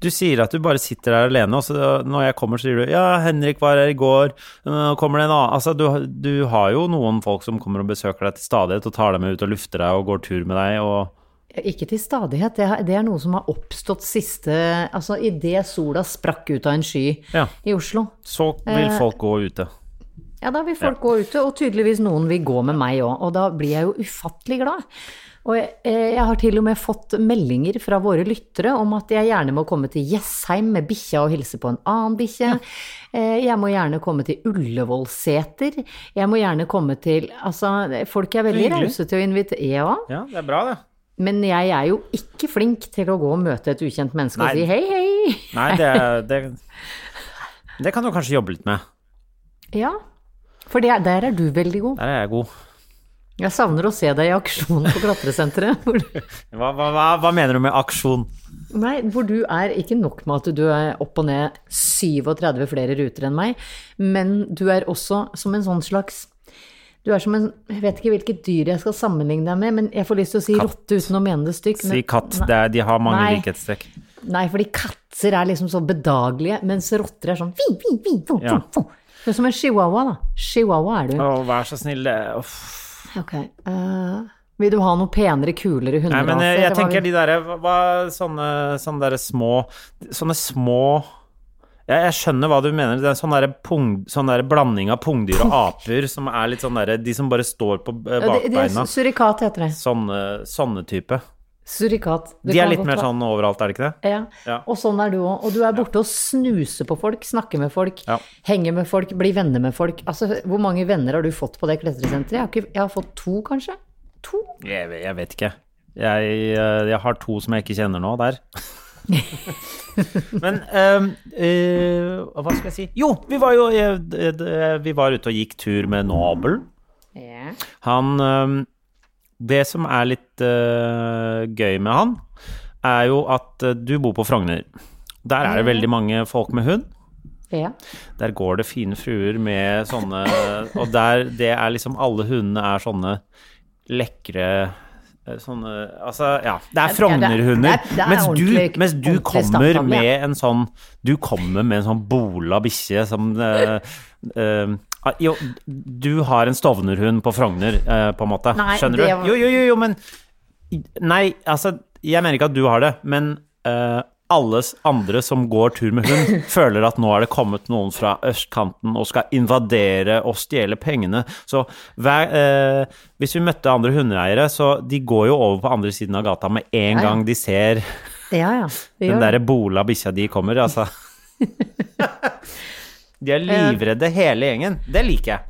Speaker 1: du sier at du bare sitter der alene, og så når jeg kommer, så sier du 'ja, Henrik var her i går', nå kommer det en annen Altså, du, du har jo noen folk som kommer og besøker deg til stadighet, og tar deg med ut og lufter deg og går tur med deg og
Speaker 2: Ikke til stadighet. Det, er- det er noe som har oppstått siste Altså idet sola sprakk ut av en sky
Speaker 1: Ja.
Speaker 2: i Oslo.
Speaker 1: Så vil
Speaker 2: Eh.
Speaker 1: folk gå ute.
Speaker 2: Ja, da vil folk gå ute, og tydeligvis noen vil gå med meg òg. Og da blir jeg jo ufattelig glad. Og jeg, eh, jeg har til og med fått meldinger fra våre lyttere om at jeg gjerne må komme til Jessheim med bikkja og hilse på en annen bikkje. Eh, Jeg må gjerne komme til Ullevålseter. Jeg må gjerne komme til Altså, folk er veldig
Speaker 1: Hyggelig.
Speaker 2: rause til å invitere. Ja,
Speaker 1: Ja, det er bra, det.
Speaker 2: men jeg er jo ikke flink til å gå og møte et ukjent menneske
Speaker 1: Nei.
Speaker 2: og si hei, hei.
Speaker 1: Nei, det, er- det Det kan du kanskje jobbe litt med.
Speaker 2: Ja. For det, er- der er du veldig god.
Speaker 1: Der er jeg god.
Speaker 2: Jeg savner å se deg i aksjon på klatresenteret. Hvor du
Speaker 1: Hva, hva, hva, hva mener du med aksjon?
Speaker 2: Nei, hvor du er ikke nok med at du er opp og ned 37 flere ruter enn meg, men du er også som en sånn slags Du er som en Jeg vet ikke hvilket dyr jeg skal sammenligne deg med, men jeg får lyst til å si rotte uten å mene det stygt.
Speaker 1: Si
Speaker 2: men-
Speaker 1: katt. Det er, de har mange
Speaker 2: Nei.
Speaker 1: likhetstrekk.
Speaker 2: Nei, fordi katter er liksom så bedagelige, mens rotter er sånn vi, vi, vi, vo,
Speaker 1: Ja.
Speaker 2: vo, vo. Du er som en chihuahua, da. Chihuahua er du.
Speaker 1: Å, vær så snill. det- Uff.
Speaker 2: Ok. eh, vil du ha noe penere, kulere
Speaker 1: Nei,
Speaker 2: hunderaser?
Speaker 1: men eh, jeg, jeg
Speaker 2: eller hva
Speaker 1: tenker
Speaker 2: vil-
Speaker 1: de derre hva- hva- sånne, sånne derre små Sånne små jeg, jeg skjønner hva du mener. Det er sånn derre pung- sånn derre blanding av pungdyr og aper som er litt sånn derre De som bare står på eh,
Speaker 2: Ja, det- det er
Speaker 1: bakbeina.
Speaker 2: Surikat heter det.
Speaker 1: Sånne, sånne type.
Speaker 2: Surikat. Det
Speaker 1: De er
Speaker 2: kan
Speaker 1: litt
Speaker 2: godt
Speaker 1: mer
Speaker 2: være-
Speaker 1: sånn overalt, er det ikke det?
Speaker 2: Ja.
Speaker 1: Ja.
Speaker 2: og sånn er du òg. Og du er borte og snuser på folk, snakker med folk,
Speaker 1: Ja.
Speaker 2: henger med folk, blir venner med folk. Altså, hvor mange venner har du fått på det klatresenteret? Jeg har, ikke, jeg har fått to, kanskje? To?
Speaker 1: Jeg, jeg vet ikke. Jeg, eh, jeg har to som jeg ikke kjenner nå, der. Men ehm, eh, hva skal jeg si? Jo, vi var jo eh, d- d- Vi var ute og gikk tur med Nobel.
Speaker 2: Ja.
Speaker 1: Han ehm, Det som er litt eh, gøy med han, er jo at eh, du bor på Frogner. Der er det veldig mange folk med hund.
Speaker 2: ja.
Speaker 1: Der går det fine fruer med sånne øh, Og der det er liksom Alle hundene er sånne lekre eh, Sånne Altså, ja. Det er
Speaker 2: det
Speaker 1: Frogner-hunder.
Speaker 2: er- det er
Speaker 1: Mens, du-
Speaker 2: ordentlig-
Speaker 1: mens du
Speaker 2: ordentlig
Speaker 1: kommer
Speaker 2: stamtavle, ja.
Speaker 1: med en sånn Du kommer med en sånn bola bikkje som eh, eh, ah, Jo, du har en Stovner-hund på Frogner, eh, på en måte.
Speaker 2: Nei,
Speaker 1: Skjønner
Speaker 2: det
Speaker 1: du?
Speaker 2: var-
Speaker 1: Jo, jo, jo, jo, men Nei, altså, jeg mener ikke at du har det, men eh, alle andre som går tur med hund, føler at nå er det kommet noen fra østkanten og skal invadere og stjele pengene. Så hver, eh, hvis vi møtte andre hundeeiere, så de går jo over på andre siden av gata med en
Speaker 2: ja.
Speaker 1: gang de ser
Speaker 2: Ja, ja. Det
Speaker 1: den
Speaker 2: gjør det.
Speaker 1: derre bola bikkja di kommer, altså. De er livredde hele gjengen. Det liker jeg.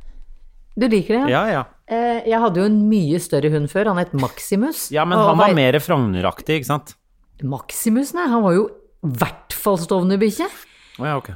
Speaker 2: Du liker det?
Speaker 1: Ja, ja.
Speaker 2: Eh, Jeg hadde jo en mye større hund før, han het Maximus.
Speaker 1: Ja, men
Speaker 2: Og
Speaker 1: han var
Speaker 2: vei-
Speaker 1: mer Frogner-aktig, ikke sant?
Speaker 2: Maximus, nei, han var jo i hvert fall stovnebikkje.
Speaker 1: Å ja, ok.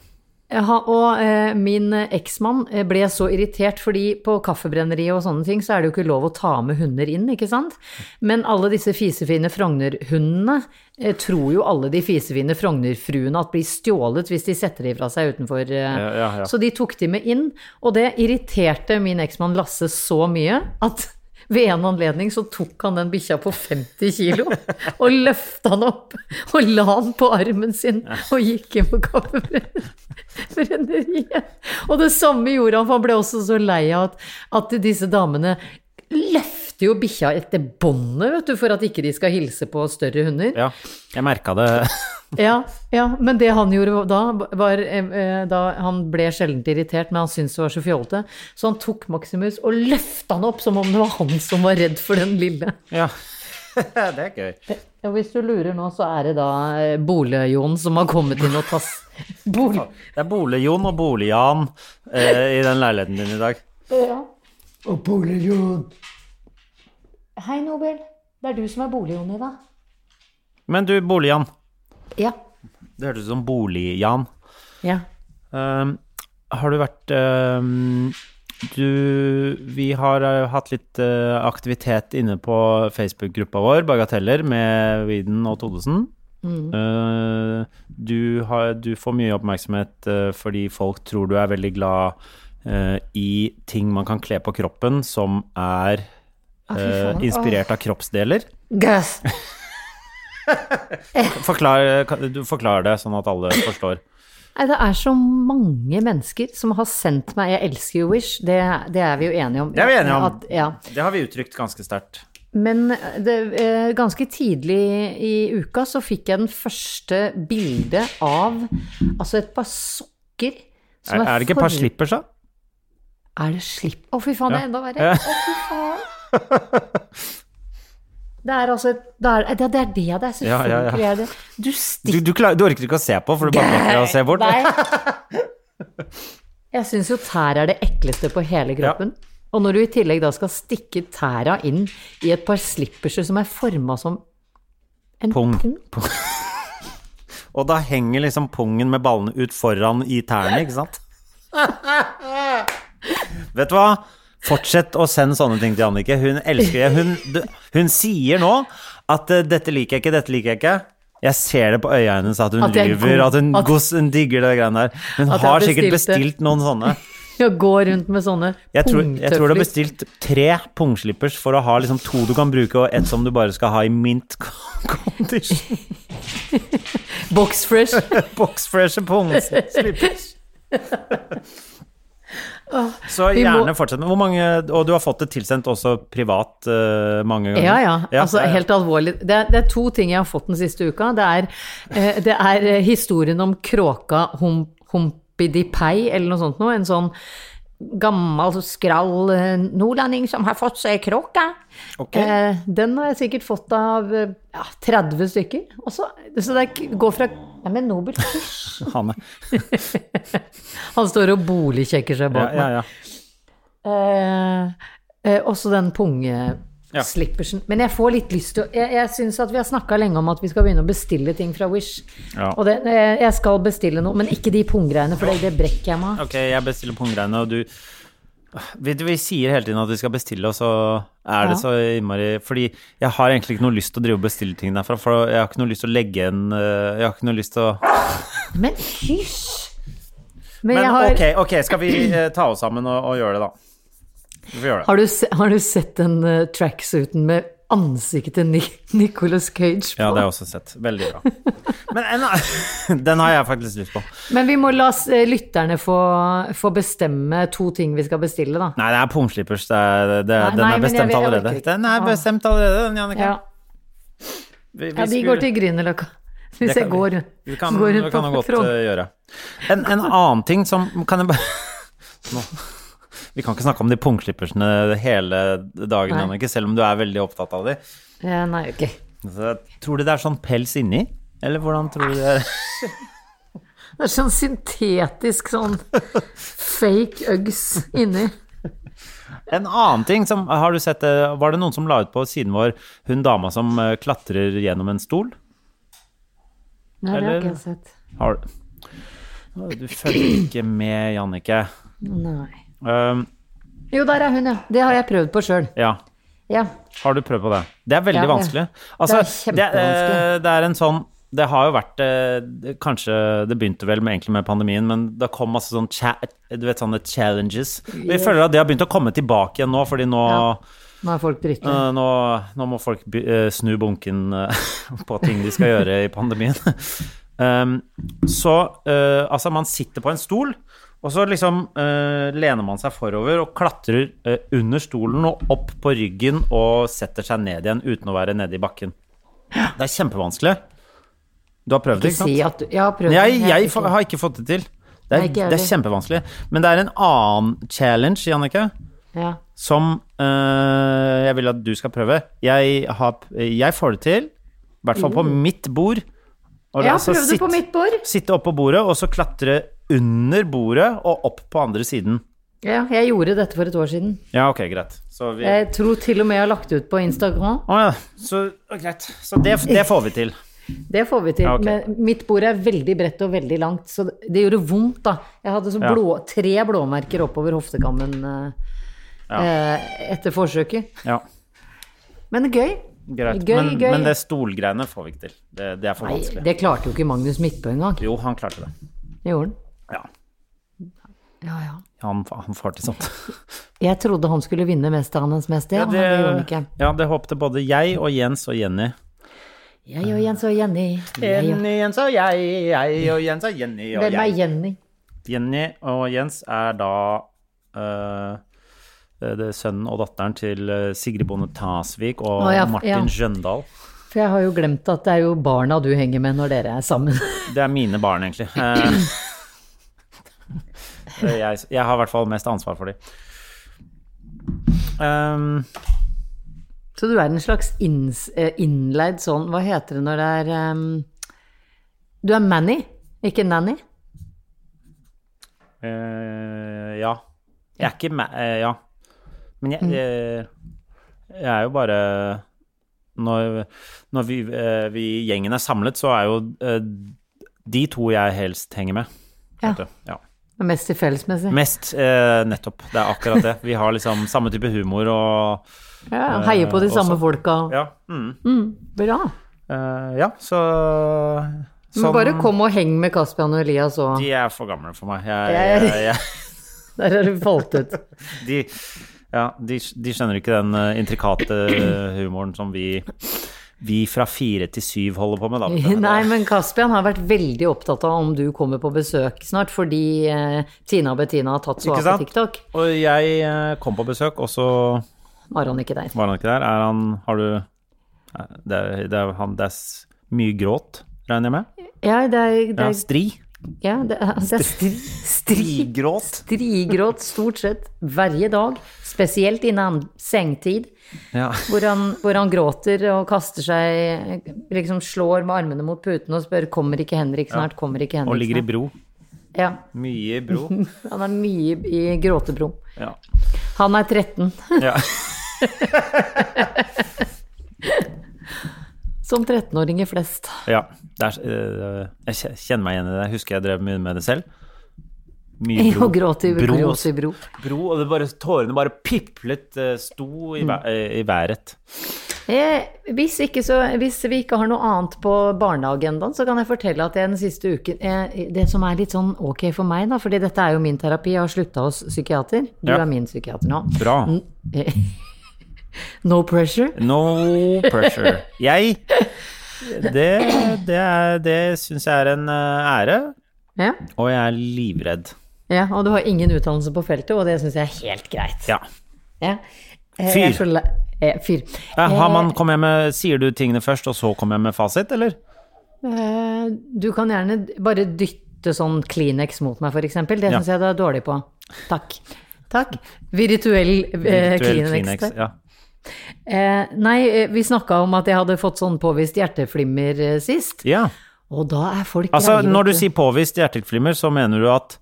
Speaker 2: Ja, og eh, min eh, eksmann eh, ble så irritert, fordi på kaffebrenneriet og sånne ting, så er det jo ikke lov å ta med hunder inn, ikke sant? Men alle disse fisefine Frogner-hundene eh, tror jo alle de fisefine Frogner-fruene at blir stjålet hvis de setter de fra seg utenfor. Eh.
Speaker 1: ja, ja.
Speaker 2: Så de tok de med inn, og det irriterte min eksmann Lasse så mye at ved en anledning så tok han den bikkja på 50 kilo og løfta han opp og la han på armen sin og gikk inn på kaffebrenneriet. Og det samme gjorde han, for han ble også så lei av at, at disse damene løfter jo bikkja etter båndet, vet du, for at ikke de skal hilse på større hunder.
Speaker 1: Ja, jeg merka det.
Speaker 2: Ja, ja, men det han gjorde da, var eh, da Han ble sjeldent irritert, men han syntes det var så fjollete. Så han tok Maximus og løfta han opp som om det var han som var redd for den lille.
Speaker 1: Ja. det er gøy.
Speaker 2: Og hvis du lurer nå, så er det da eh, Bole-Jon som har kommet inn og tass... Bol...
Speaker 1: Det er Bolig-Jon og Bolig-Jan eh, i den leiligheten din i dag.
Speaker 2: Ja. Og Bole-Jon. Hei, Nobel. Det er du som er Bole-Jon i dag.
Speaker 1: Men du, Bolig-Jan.
Speaker 2: Ja.
Speaker 1: Det hørtes ut som Bolig-Jan.
Speaker 2: ja.
Speaker 1: Um, har du vært um, du, vi har uh, hatt litt uh, aktivitet inne på Facebook-gruppa vår, Bagateller, med Widen og Todesen.
Speaker 2: Mm.
Speaker 1: Uh, du, har, du får mye oppmerksomhet uh, fordi folk tror du er veldig glad uh, i ting man kan kle på kroppen som er
Speaker 2: Ah,
Speaker 1: uh,
Speaker 2: fy faen.
Speaker 1: inspirert av kroppsdeler.
Speaker 2: Gass.
Speaker 1: Forklar, kan, du forklarer det sånn at alle forstår.
Speaker 2: Nei, det er så mange mennesker som har sendt meg Jeg elsker jo Wish, det, det er vi jo enige om.
Speaker 1: Det er vi enige om.
Speaker 2: At, ja.
Speaker 1: Det har vi uttrykt ganske sterkt.
Speaker 2: Men det, eh, ganske tidlig i uka så fikk jeg den første bildet av altså et par sokker som
Speaker 1: Er, er det ikke et par slippers, da?
Speaker 2: Er det slipp? Å, fy faen, det er enda verre.
Speaker 1: Ja.
Speaker 2: Å, fy faen. Det er altså et Det er det, er- det, er det, det er
Speaker 1: Ja, ja, ja.
Speaker 2: selvfølgelig er det. Du stikker
Speaker 1: Du, du, klarer, du orker ikke å se på, for du bare nekter å se bort.
Speaker 2: Nei. Jeg syns jo tær er det ekleste på hele kroppen. Og når du i tillegg da skal stikke tæra inn i et par slipperser som er forma som en
Speaker 1: Pung.
Speaker 2: pung,
Speaker 1: Pung. Og da henger liksom pungen med ballene ut foran i tærne, ikke sant? Vet du hva? Fortsett å sende sånne ting til Annike. Hun elsker det. Hun, du- hun sier nå at eh, 'dette liker jeg ikke, dette liker jeg ikke'. Jeg ser det på øya hennes at hun
Speaker 2: At jeg er
Speaker 1: lyver,
Speaker 2: god-
Speaker 1: at hun,
Speaker 2: at-
Speaker 1: gos- hun digger det greiene der. Hun
Speaker 2: At jeg
Speaker 1: har
Speaker 2: har
Speaker 1: sikkert
Speaker 2: bestilt det.
Speaker 1: bestilt noen sånne.
Speaker 2: og gå rundt med sånne
Speaker 1: Jeg tror, jeg tror du har
Speaker 2: pungtøfler.
Speaker 1: bestilt tre pungslippers for å ha liksom to du kan bruke, og ett som du bare skal ha i mint condition.
Speaker 2: Boxfresh.
Speaker 1: Boxfreshe pungslippers. Så
Speaker 2: vi må-
Speaker 1: gjerne fortsett med hvor mange Og du har fått det tilsendt også privat eh, mange ganger.
Speaker 2: Ja, ja. Altså
Speaker 1: ja, ja.
Speaker 2: helt alvorlig. Det er, det er to ting jeg har fått den siste uka. Det er, eh, det er eh, historien om kråka hum, Humpidipei, eller noe sånt noe. En sånn gammel, skrall eh, nordlending som har fått seg kråke.
Speaker 1: Ok.
Speaker 2: Eh, den har jeg sikkert fått av eh, ja, 30 stykker. Og så, så det er k- går fra Nei, men Nobel hysj.
Speaker 1: Hanne.
Speaker 2: Han står og boligkjekker
Speaker 1: Ja,
Speaker 2: seg bak
Speaker 1: ja,
Speaker 2: meg.
Speaker 1: ja.
Speaker 2: Eh, eh, også den pungeslippersen. Men jeg får litt lyst til å Jeg, jeg syns at vi har snakka lenge om at vi skal begynne å bestille ting fra Wish.
Speaker 1: Ja.
Speaker 2: Og det, eh, jeg skal bestille noe, men ikke de punggreiene, for det, det brekker jeg meg av.
Speaker 1: Ok, jeg bestiller punggreiene, og du vi, vi sier hele tiden at vi skal bestille, og så er det
Speaker 2: Ja.
Speaker 1: så innmari Fordi jeg har egentlig ikke noe lyst til å drive og bestille ting derfra, for jeg har ikke noe lyst til å legge en eh, Jeg har ikke noe lyst til å
Speaker 2: Men hysj! Men,
Speaker 1: Men
Speaker 2: jeg har
Speaker 1: ok, ok, skal vi eh, ta oss sammen og, og gjøre det, da? Vi får gjøre det.
Speaker 2: har, du, se- har du sett den eh, tracksuiten med ansiktet til Ni Nicolas Cage på?
Speaker 1: Ja, det har jeg også sett. Veldig bra. Men en, annen- den har jeg faktisk lyst på.
Speaker 2: Men vi må la s- eh, lytterne få, få bestemme to ting vi skal bestille, da.
Speaker 1: Nei, det er pungslippers. Det er, det, det- den
Speaker 2: Nei, nei,
Speaker 1: er
Speaker 2: men jeg-
Speaker 1: bestemt
Speaker 2: jeg orker
Speaker 1: allerede.
Speaker 2: ikke.
Speaker 1: Den er
Speaker 2: Ah.
Speaker 1: bestemt allerede, den, Jannicke. Vi-
Speaker 2: Ja.
Speaker 1: vi
Speaker 2: Ja, de
Speaker 1: skulle-
Speaker 2: går til Grünerløkka. Hvis
Speaker 1: Det kan
Speaker 2: jeg går,
Speaker 1: vi- Vi kan,
Speaker 2: går rundt
Speaker 1: vi kan
Speaker 2: på
Speaker 1: jo godt
Speaker 2: front.
Speaker 1: eh, gjøre. En, en annen ting som Kan jeg bare Nå. Vi kan ikke snakke om de pungslipperne hele dagen,
Speaker 2: Nei.
Speaker 1: Jannicke, selv om du er veldig opptatt av de.
Speaker 2: Ja, nei, ok.
Speaker 1: Så, tror du det er sånn pels inni? Eller hvordan tror du det er?
Speaker 2: Det er sånn syntetisk sånn fake uggs inni.
Speaker 1: En annen ting som Har du sett det? Var det noen som la ut på siden vår hun dama som eh, klatrer gjennom en stol?
Speaker 2: Nei, det har
Speaker 1: Eller-
Speaker 2: ikke jeg sett.
Speaker 1: Har du Å, Du følger ikke med, Jannicke.
Speaker 2: Nei.
Speaker 1: Um,
Speaker 2: Jo, der er hun, ja. Det har jeg prøvd på sjøl.
Speaker 1: ja.
Speaker 2: Ja.
Speaker 1: Har du prøvd på det? Det er veldig
Speaker 2: Ja, det-
Speaker 1: vanskelig. Altså,
Speaker 2: det er
Speaker 1: det, eh,
Speaker 2: kjempevanskelig.
Speaker 1: det er en sånn det har jo vært eh, det- Kanskje det begynte vel med, egentlig med pandemien, men det kom masse sånn cha, du vet, sånne challenges. Og Jeg føler at det har begynt å komme tilbake igjen nå, fordi nå,
Speaker 2: Nå er folk dritte.
Speaker 1: eh, nå, nå må folk by, eh, snu bunken eh, på ting de skal gjøre i pandemien. Um, så eh, altså, man sitter på en stol, Og så liksom eh, lener man seg forover og klatrer eh, under stolen og opp på ryggen og setter seg ned igjen uten å være nede i bakken. Det er kjempevanskelig. Du har prøvd det, ikke sant?
Speaker 2: Si at du, jeg har prøvd
Speaker 1: Jeg,
Speaker 2: men
Speaker 1: jeg
Speaker 2: ikke-
Speaker 1: fa- har ikke fått det til. Det er,
Speaker 2: Nei, ikke jeg
Speaker 1: det er kjempevanskelig. Men det er en annen challenge, Jannicke,
Speaker 2: ja.
Speaker 1: som eh, jeg vil at du skal prøve. Jeg, har, jeg får det til, i hvert fall på mitt bord. Og
Speaker 2: Jeg har
Speaker 1: altså
Speaker 2: prøvd Mm. det på
Speaker 1: sitt-
Speaker 2: mitt bord.
Speaker 1: Sitte oppå bordet, og så klatre under bordet og opp på andre siden.
Speaker 2: Ja, jeg gjorde dette for et år siden.
Speaker 1: Ja, ok, greit. Så vi...
Speaker 2: Jeg tror til og med jeg har lagt det ut på Instagram.
Speaker 1: Å ja, så å, greit. Så det, det får vi til.
Speaker 2: Det får vi til.
Speaker 1: Ja, ok.
Speaker 2: Men mitt bord er veldig bredt og veldig langt, så det gjorde vondt, da. Jeg hadde så
Speaker 1: Ja.
Speaker 2: blå, tre blåmerker oppover hoftekammen eh,
Speaker 1: Ja.
Speaker 2: eh, etter forsøket.
Speaker 1: Ja,
Speaker 2: Men gøy.
Speaker 1: greit.
Speaker 2: Gøy,
Speaker 1: men,
Speaker 2: gøy.
Speaker 1: men det stolgreiene får vi ikke til. Det, det er for
Speaker 2: Nei,
Speaker 1: vanskelig.
Speaker 2: det klarte jo ikke Magnus Midtbø engang.
Speaker 1: Jo, han klarte det.
Speaker 2: Det gjorde han.
Speaker 1: Ja,
Speaker 2: Ja, ja.
Speaker 1: han, han får til sånt.
Speaker 2: Jeg trodde han skulle vinne Mesterhandelens mester, ja, men det gjorde han ikke.
Speaker 1: ja, det håpte både jeg og Jens og Jenny.
Speaker 2: Jeg og Jens og Jenny. Jeg og...
Speaker 1: Jens og jeg, jeg og Jens og Jenny
Speaker 2: Hvem er Jenny?
Speaker 1: Jenny og Jens er da eh, det er sønnen og datteren til eh, Sigrid Bonde Tasvik og
Speaker 2: Å, ja, ja.
Speaker 1: Martin Skjøndal.
Speaker 2: For jeg har jo glemt at det er jo barna du henger med når dere er sammen.
Speaker 1: Det er mine barn, egentlig. Eh, jeg, jeg har i hvert fall mest ansvar for Ehm, dem.
Speaker 2: Så du er en slags inns, eh, innleid sånn Hva heter det når det er ehm, Du er manny, ikke nanny.
Speaker 1: Eh, ja. Jeg er ikke meg Ja. Men
Speaker 2: Mm.
Speaker 1: jeg, eh, jeg er jo bare Når, når vi, eh, vi i gjengen er samlet, så er jo eh, de to jeg helst henger med.
Speaker 2: Ja.
Speaker 1: vet du. ja.
Speaker 2: Det er Mest tilfeldighetsmessig.
Speaker 1: Mest eh, nettopp. Det er akkurat det. Vi har liksom samme type humor og
Speaker 2: Ja, heier på de
Speaker 1: Eh,
Speaker 2: samme
Speaker 1: også.
Speaker 2: folka.
Speaker 1: Ja. Mm.
Speaker 2: Bra.
Speaker 1: Eh, ja, så
Speaker 2: Men
Speaker 1: sånn-
Speaker 2: bare kom og heng med Kaspian og Elias òg.
Speaker 1: De er for gamle for meg. Jeg,
Speaker 2: Jeg-
Speaker 1: jeg, jeg,
Speaker 2: Der er du falt ut.
Speaker 1: de, ja, de, de skjønner ikke den eh, intrikate eh, humoren som vi, vi fra fire til syv holder på med, da. vet du.
Speaker 2: Nei, men Kaspian har vært veldig opptatt av om du kommer på besøk snart, fordi eh, Tina og Bettina har tatt så
Speaker 1: Ikke
Speaker 2: av på
Speaker 1: sant?
Speaker 2: TikTok.
Speaker 1: Og jeg eh, kom på besøk, og så
Speaker 2: Var han ikke der.
Speaker 1: var han ikke der. Er han Har du Nei, Det er, det er, han, det er s- mye gråt, regner jeg med?
Speaker 2: Ja, det er, det
Speaker 1: Ja,
Speaker 2: er,
Speaker 1: stri?
Speaker 2: ja, det er, det er stri, stri,
Speaker 1: Strigråt?
Speaker 2: Strigråt stort sett hver dag, spesielt innan sengtid,
Speaker 1: Ja.
Speaker 2: hvor han, hvor han gråter og kaster seg, liksom slår med armene mot puten og spør 'kommer ikke Henrik snart', 'kommer ikke
Speaker 1: Og
Speaker 2: Henrik
Speaker 1: ligger i
Speaker 2: snart'.
Speaker 1: bro.
Speaker 2: Ja,
Speaker 1: Mye i bro.
Speaker 2: han er mye i gråtebro.
Speaker 1: Ja.
Speaker 2: Han er 13,
Speaker 1: ja.
Speaker 2: som 13-åringer flest.
Speaker 1: Ja. Det er, øh, jeg kje- kjenner meg igjen i det. Jeg husker jeg drev mye med det selv. Mye
Speaker 2: Og gråter i bro. gråter i bro.
Speaker 1: bro og det bare, tårene bare piplet, øh, sto i, væ- øh, i været.
Speaker 2: Eh, hvis, ikke så, hvis vi ikke har noe annet på barneagendaen, så kan jeg fortelle at jeg den siste uken eh, Det som er litt sånn ok for meg, da, fordi dette er jo min terapi, jeg har slutta hos psykiater. Du
Speaker 1: Ja.
Speaker 2: er min psykiater nå.
Speaker 1: Bra.
Speaker 2: Eh, No pressure.
Speaker 1: No pressure. Jeg Det, det, er- det syns jeg er en øh, ære,
Speaker 2: Ja.
Speaker 1: og jeg er livredd.
Speaker 2: ja, og du har ingen utdannelse på feltet, og det syns jeg er helt greit.
Speaker 1: Ja.
Speaker 2: Ja. Eh,
Speaker 1: Fyr.
Speaker 2: jeg er så le- eh, fyr.
Speaker 1: Eh, Har man, kom jeg med, sier du tingene først, og så kommer jeg med fasit, eller?
Speaker 2: Eh, Du kan gjerne bare dytte sånn Kleenex mot meg, f.eks. Det
Speaker 1: Ja.
Speaker 2: syns jeg du er dårlig på. Takk. Takk. Virtuell, eh,
Speaker 1: Virtuell
Speaker 2: Kleenex. der.
Speaker 1: Ja.
Speaker 2: Eh, nei, eh, vi snakka om at jeg hadde fått sånn påvist hjerteflimmer eh, sist.
Speaker 1: ja.
Speaker 2: Og da er folk
Speaker 1: Altså,
Speaker 2: greie, vet
Speaker 1: når du sier påvist hjerteflimmer, så mener du at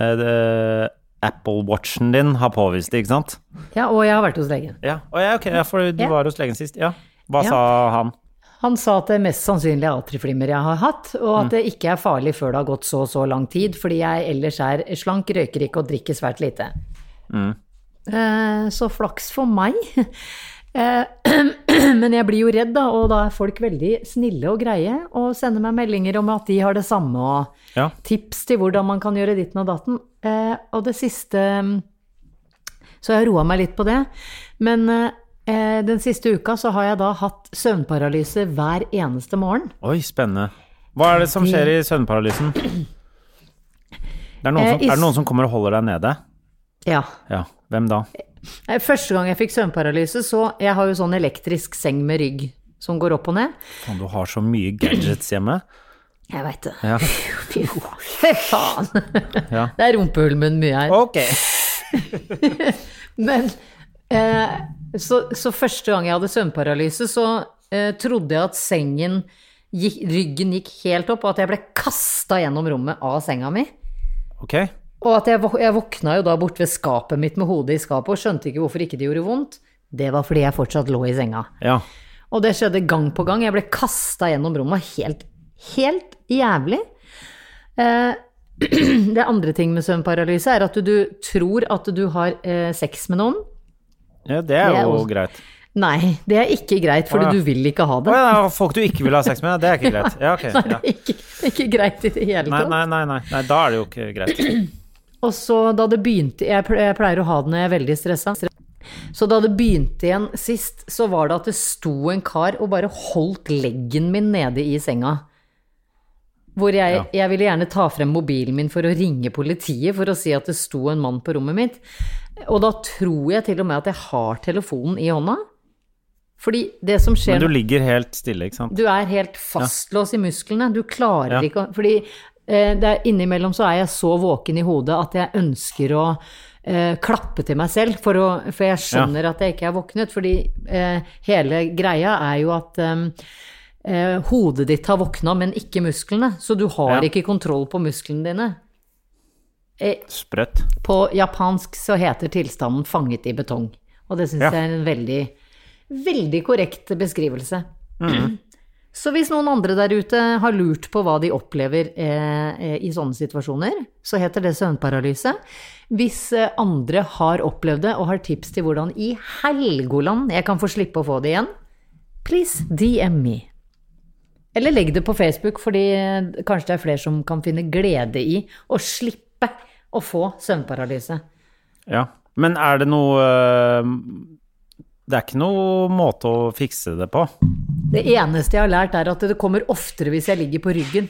Speaker 1: eh, det- Apple Watchen din har påvist det, ikke sant?
Speaker 2: Ja, og jeg har vært hos legen.
Speaker 1: Ja, Å, ja ok, ja, for du
Speaker 2: Ja.
Speaker 1: var hos legen sist. Ja. Hva
Speaker 2: Ja.
Speaker 1: sa han?
Speaker 2: Han sa at det er mest sannsynlig er atriflimmer jeg har hatt, og at det ikke er farlig før det har gått så og så lang tid, fordi jeg ellers er slank, røyker ikke og drikker svært lite. Eh, så flaks for meg. Eh, Men jeg blir jo redd, da, og da er folk veldig snille og greie og sender meg meldinger om at de har det samme, og
Speaker 1: Ja.
Speaker 2: tips til hvordan man kan gjøre ditten og datten. Eh, Og det siste mm, så jeg har roa meg litt på det. Men eh, den siste uka så har jeg da hatt søvnparalyse hver eneste morgen.
Speaker 1: Oi, spennende. Hva er det som skjer i søvnparalysen? Det er, noen
Speaker 2: Eh,
Speaker 1: som,
Speaker 2: i
Speaker 1: er det
Speaker 2: s-
Speaker 1: noen som kommer og holder deg nede?
Speaker 2: Ja.
Speaker 1: Ja. Hvem da?
Speaker 2: Eh, Første gang jeg fikk søvnparalyse, så Jeg har jo sånn elektrisk seng med rygg som går opp og ned.
Speaker 1: Faen, du har så mye gadgets hjemme.
Speaker 2: Jeg veit det.
Speaker 1: Ja.
Speaker 2: Fy faen.
Speaker 1: Ja.
Speaker 2: Det er rumpehull med mye her.
Speaker 1: Ok.
Speaker 2: Men eh, så, så første gang jeg hadde søvnparalyse, så eh, trodde jeg at sengen gikk, Ryggen gikk helt opp, og at jeg ble kasta gjennom rommet av senga mi.
Speaker 1: Ok.
Speaker 2: Og at jeg, vå- jeg våkna jo da borte ved skapet mitt med hodet i skapet og skjønte ikke hvorfor ikke det gjorde vondt. Det var fordi jeg fortsatt lå i senga.
Speaker 1: Ja.
Speaker 2: Og det skjedde gang på gang. Jeg ble kasta gjennom rommet helt, helt jævlig. Eh, det andre ting med søvnparalyse er at du, du tror at du har eh, sex med noen.
Speaker 1: ja, det er
Speaker 2: Det er
Speaker 1: jo
Speaker 2: også-
Speaker 1: greit.
Speaker 2: Nei, det er ikke greit, fordi
Speaker 1: Å, ja.
Speaker 2: du vil ikke ha
Speaker 1: Å
Speaker 2: det.
Speaker 1: ja, folk du ikke vil ha sex med, det er ikke greit. Ja, ok.
Speaker 2: Nei, det
Speaker 1: Ja.
Speaker 2: er ikke, ikke greit i det hele
Speaker 1: Nei,
Speaker 2: tatt.
Speaker 1: nei, nei, nei, nei, da er det jo ikke greit.
Speaker 2: Og så da det begynte Jeg ple- jeg pleier å ha det når jeg er veldig stressa. Så da det begynte igjen sist, så var det at det sto en kar og bare holdt leggen min nede i senga. Hvor jeg,
Speaker 1: Ja.
Speaker 2: jeg ville gjerne ta frem mobilen min for å ringe politiet for å si at det sto en mann på rommet mitt. Og da tror jeg til og med at jeg har telefonen i hånda. Fordi det som skjer
Speaker 1: Men du ligger helt stille, ikke sant?
Speaker 2: du er helt fastlåst i musklene. Du klarer
Speaker 1: Ja.
Speaker 2: ikke å Fordi eh, det er, innimellom så er jeg så våken i hodet at jeg ønsker å eh, klappe til meg selv, for, å, for jeg skjønner at jeg ikke er våknet. Fordi eh, hele greia er jo at eh, eh, hodet ditt har våkna, men ikke musklene. Så du har
Speaker 1: Ja.
Speaker 2: ikke kontroll på musklene dine. Eh,
Speaker 1: Sprøtt.
Speaker 2: på japansk så heter tilstanden 'fanget i betong'. Og det syns
Speaker 1: Ja.
Speaker 2: jeg er en veldig, veldig korrekt beskrivelse. Så hvis noen andre der ute har lurt på hva de opplever eh, eh, i sånne situasjoner, så heter det søvnparalyse. Hvis eh, andre har opplevd det og har tips til hvordan i helgoland jeg kan få slippe å få det igjen, please DM me. Eller legg det på Facebook, fordi eh, kanskje det er flere som kan finne glede i å slippe å få søvnparalyse.
Speaker 1: Ja. Men er det noe eh, Det er ikke noe måte å fikse det på.
Speaker 2: Det eneste jeg har lært, er at det kommer oftere hvis jeg ligger på ryggen.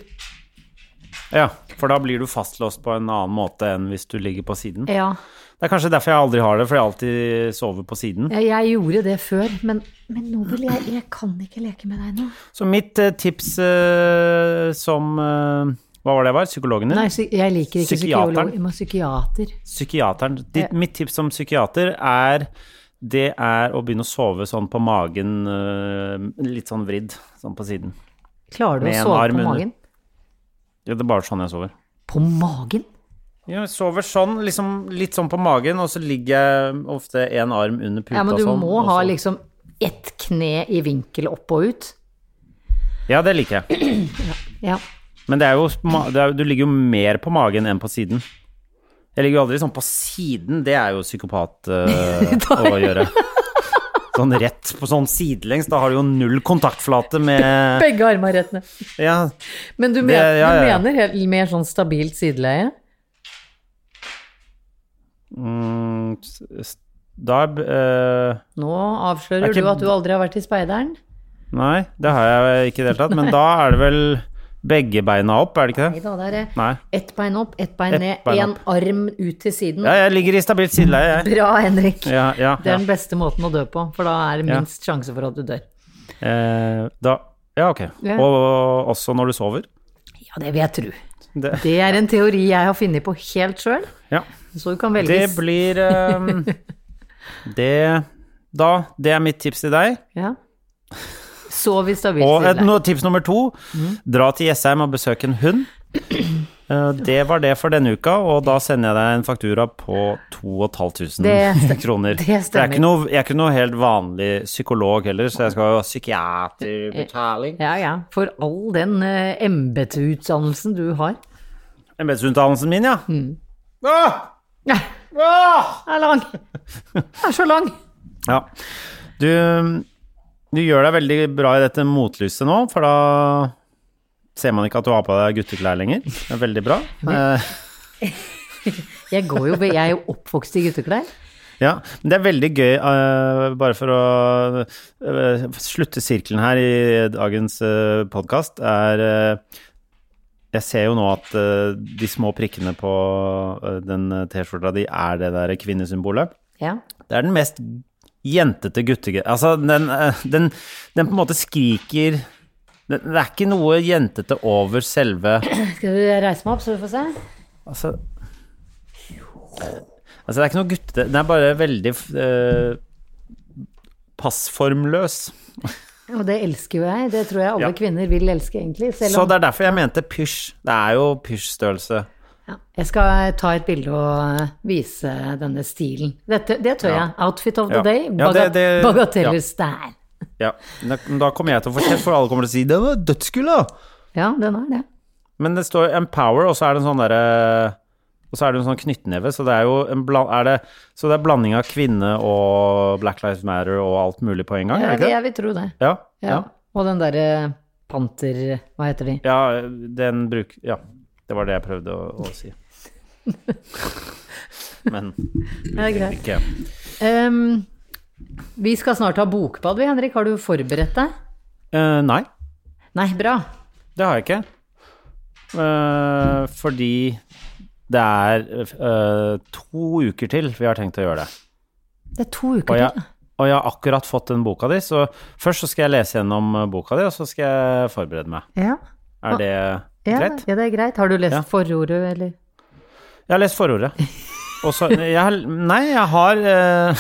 Speaker 1: Ja, for da blir du fastlåst på en annen måte enn hvis du ligger på siden.
Speaker 2: Ja,
Speaker 1: Det er kanskje derfor jeg aldri har det, for jeg alltid sover på siden.
Speaker 2: jeg, jeg gjorde det før, men, men nå vil jeg Jeg kan ikke leke med deg nå.
Speaker 1: Så mitt eh, tips eh, som eh, Hva var det jeg var? Psykologen din?
Speaker 2: Nei, psy- jeg liker ikke
Speaker 1: Psykiateren.
Speaker 2: psykolog. Jeg må psykiater.
Speaker 1: Psykiateren. Ditt, Mitt tips som psykiater er det er å begynne å sove sånn på magen, eh, litt sånn vridd, sånn på siden.
Speaker 2: Klarer du
Speaker 1: Med
Speaker 2: å
Speaker 1: en
Speaker 2: sove
Speaker 1: arm
Speaker 2: på
Speaker 1: under.
Speaker 2: magen?
Speaker 1: Ja, det er bare sånn jeg sover.
Speaker 2: På magen?
Speaker 1: Ja, jeg sover sånn, liksom litt sånn på magen, og så ligger jeg ofte en arm under puta
Speaker 2: Ja, men du
Speaker 1: sånn.
Speaker 2: må
Speaker 1: og
Speaker 2: ha
Speaker 1: så-
Speaker 2: liksom ett kne i vinkel opp og ut.
Speaker 1: Ja, det liker jeg.
Speaker 2: Ja.
Speaker 1: Men det er jo, ma- det er, du ligger jo mer på magen enn på siden. Jeg ligger jo aldri sånn på siden, det er jo psykopat eh, å gjøre. Sånn rett på sånn sidelengs, da har du jo null kontaktflate med
Speaker 2: Begge armer rett ned.
Speaker 1: Ja,
Speaker 2: Men du,
Speaker 1: Det-
Speaker 2: men,
Speaker 1: ja, ja, ja.
Speaker 2: du mener helt, mer sånn stabilt sideleie?
Speaker 1: mm, s- s- da eh,
Speaker 2: Nå
Speaker 1: Det
Speaker 2: avslører
Speaker 1: er ikke-
Speaker 2: du at du aldri har vært i speideren.
Speaker 1: Nei, det har jeg ikke i det hele tatt. Men da er det vel begge beina opp, er det ikke
Speaker 2: Nei
Speaker 1: det?
Speaker 2: da, det er
Speaker 1: Nei.
Speaker 2: ett bein opp, ett bein
Speaker 1: Ett
Speaker 2: ned,
Speaker 1: bein
Speaker 2: én
Speaker 1: opp.
Speaker 2: arm ut til siden.
Speaker 1: Ja, jeg ligger i stabilt sideleie, jeg.
Speaker 2: Bra, Henrik.
Speaker 1: Ja, ja,
Speaker 2: Det
Speaker 1: ja.
Speaker 2: er den beste måten å dø på, for da er det
Speaker 1: Ja.
Speaker 2: minst sjanse for at du dør.
Speaker 1: Eh, da, ja, ok.
Speaker 2: Ja.
Speaker 1: Og også når du sover.
Speaker 2: Ja, det vil jeg tro.
Speaker 1: Det,
Speaker 2: Det er en teori jeg har funnet på helt sjøl,
Speaker 1: ja.
Speaker 2: så du kan velge
Speaker 1: det blir eh, Det Da, det er mitt tips til deg.
Speaker 2: ja. Sov i stabilt
Speaker 1: Og et,
Speaker 2: sideleie.
Speaker 1: no, tips nummer to,
Speaker 2: Mm.
Speaker 1: dra til Jessheim og besøk en hund. Eh, Det var det for denne uka, og da sender jeg deg en faktura på
Speaker 2: Det stem-
Speaker 1: 2500 kroner. For
Speaker 2: det
Speaker 1: jeg er,
Speaker 2: stemmer.
Speaker 1: ikke noe, jeg er ikke noe helt vanlig psykolog heller, så jeg skal jo ha
Speaker 2: Eh,
Speaker 1: psykiaterbetaling.
Speaker 2: Ja, ja. For all den uh, embeteutdannelsen du har.
Speaker 1: Embetsutdannelsen min, ja. Åh!
Speaker 2: Ja,
Speaker 1: Åh!
Speaker 2: den er lang. Den er så lang.
Speaker 1: Ja. Du, du gjør deg veldig bra i dette motlyset nå, for da ser man ikke at du har på deg gutteklær lenger. Det er veldig bra. Eh,
Speaker 2: Jeg, går jo, jeg er jo oppvokst i gutteklær.
Speaker 1: Ja, men det er veldig gøy, eh, bare for å eh, slutte sirkelen her i dagens uh, podkast, er eh, Jeg ser jo nå at eh, de små prikkene på eh, den eh, T-skjorta di er det der kvinnesymbolet.
Speaker 2: Ja.
Speaker 1: Det er den mest jentete guttegreia Altså, den, eh, den, den på en måte skriker det, det er ikke noe jentete over selve
Speaker 2: Skal du reise meg opp, så du får se?
Speaker 1: Altså Altså, det er ikke noe guttete Den er bare veldig eh, passformløs.
Speaker 2: Og det elsker jo jeg. Det tror jeg alle
Speaker 1: Ja.
Speaker 2: kvinner vil elske, egentlig. Selv
Speaker 1: Så
Speaker 2: om
Speaker 1: det er derfor jeg mente pysj. Det er jo pysjstørrelse.
Speaker 2: ja. Jeg skal eh, ta et bilde og eh, vise denne stilen. Dette, det tør jeg. Outfit of the
Speaker 1: Ja.
Speaker 2: day.
Speaker 1: Ja,
Speaker 2: Baga
Speaker 1: det- det-
Speaker 2: bagateller
Speaker 1: ja.
Speaker 2: stær.
Speaker 1: Ja, da, men da kommer jeg til å få kjeft, for alle kommer til å si 'det var dødsgull', da.
Speaker 2: Ja, den er det.
Speaker 1: Men det står 'empower', og så er det en sånn derre Og så er det en sånn knyttneve, så det er jo en bla, er det, Så det er blanding av kvinne og Black Lives Matter og alt mulig på en gang, er
Speaker 2: Jeg,
Speaker 1: det ikke det?
Speaker 2: jeg vil tro det.
Speaker 1: Ja.
Speaker 2: Ja.
Speaker 1: Ja.
Speaker 2: Og den derre panter... Hva heter de?
Speaker 1: ja den bruk... Ja. Det var det jeg prøvde å, å si. Men
Speaker 2: Ja, det er greit.
Speaker 1: ikke
Speaker 2: Ehm, vi skal snart ha bokbad, vi, Henrik. Har du forberedt deg?
Speaker 1: Eh, Nei,
Speaker 2: Nei, bra.
Speaker 1: det har jeg ikke. Eh, fordi det er eh, to uker til vi har tenkt å gjøre det.
Speaker 2: Det er to uker
Speaker 1: Og
Speaker 2: til.
Speaker 1: jeg, og jeg har akkurat fått den boka di, så først så skal jeg lese gjennom eh, boka di, og så skal jeg forberede meg.
Speaker 2: Ja.
Speaker 1: Er det
Speaker 2: Ah, Ja,
Speaker 1: greit?
Speaker 2: ja, det er greit. Har du lest
Speaker 1: Ja.
Speaker 2: forordet, eller?
Speaker 1: Jeg har lest forordet. Og så jeg, har- Nei, jeg har eh,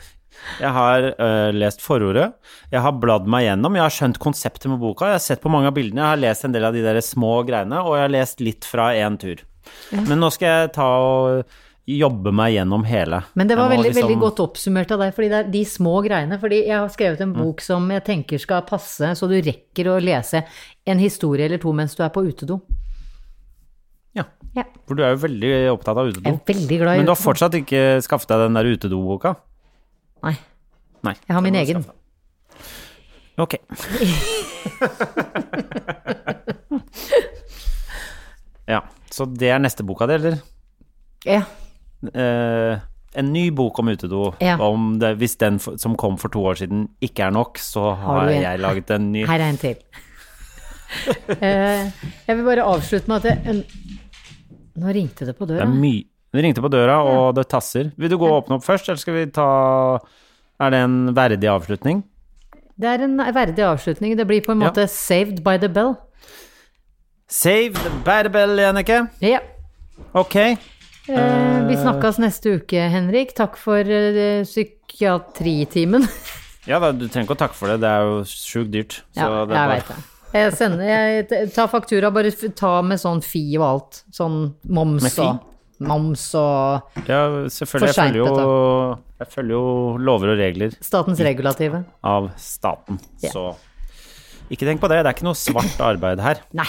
Speaker 1: Jeg har eh, lest forordet. Jeg har bladd meg gjennom. Jeg har skjønt konseptet med boka. Jeg har sett på mange av bildene. Jeg har lest en del av de der små greiene, og jeg har lest litt fra én tur. Men nå skal jeg ta og jobbe meg gjennom hele.
Speaker 2: Men det var
Speaker 1: Jeg må
Speaker 2: veldig, veldig
Speaker 1: liksom-
Speaker 2: godt oppsummert av deg, fordi det er de små greiene. Fordi jeg har skrevet
Speaker 1: Mm.
Speaker 2: en bok som jeg tenker skal passe, så du rekker å lese en historie eller to mens du er på utedo.
Speaker 1: Ja.
Speaker 2: Ja.
Speaker 1: For du er jo veldig opptatt av utedo.
Speaker 2: Jeg er veldig glad i
Speaker 1: Men du har
Speaker 2: utedo.
Speaker 1: fortsatt ikke skaffet deg den der utedoboka?
Speaker 2: Nei,
Speaker 1: Nei.
Speaker 2: jeg har min
Speaker 1: den må du
Speaker 2: egen.
Speaker 1: skaffe. Ok. ja, så det er neste boka di, eller?
Speaker 2: Ja.
Speaker 1: Eh, en ny bok om utedo.
Speaker 2: Ja.
Speaker 1: Om det, hvis den for, som kom for to år siden ikke er nok, så har,
Speaker 2: Har du en-
Speaker 1: jeg laget en ny.
Speaker 2: Her er en til. Eh, jeg vil bare avslutte med at jeg, Nå ringte det på
Speaker 1: Det
Speaker 2: døra.
Speaker 1: er mye. Det ringte på døra, og det tasser. Vil du gå og åpne opp først, eller skal vi ta Er det en verdig avslutning?
Speaker 2: Det er en verdig avslutning. Det blir på en
Speaker 1: Ja.
Speaker 2: måte saved by the bell.
Speaker 1: Save the barbell, Jannicke.
Speaker 2: Ja.
Speaker 1: Ok.
Speaker 2: Eh, vi snakkes neste uke, Henrik. Takk for eh, psykiatritimen.
Speaker 1: Ja da, du trenger ikke å takke for det, det er jo sjukt dyrt. Så
Speaker 2: ja,
Speaker 1: det er
Speaker 2: jeg
Speaker 1: bare-
Speaker 2: veit det. Jeg sender jeg t- tar faktura, bare f- ta med sånn fi og alt. Sånn
Speaker 1: Med
Speaker 2: moms
Speaker 1: fi?
Speaker 2: og Moms og
Speaker 1: Ja, selvfølgelig. Jeg
Speaker 2: For
Speaker 1: følger,
Speaker 2: seint,
Speaker 1: jo, jeg følger jo lover og regler
Speaker 2: statens regulative.
Speaker 1: av staten, så ikke tenk på det. Det er ikke noe svart arbeid her.
Speaker 2: Nei.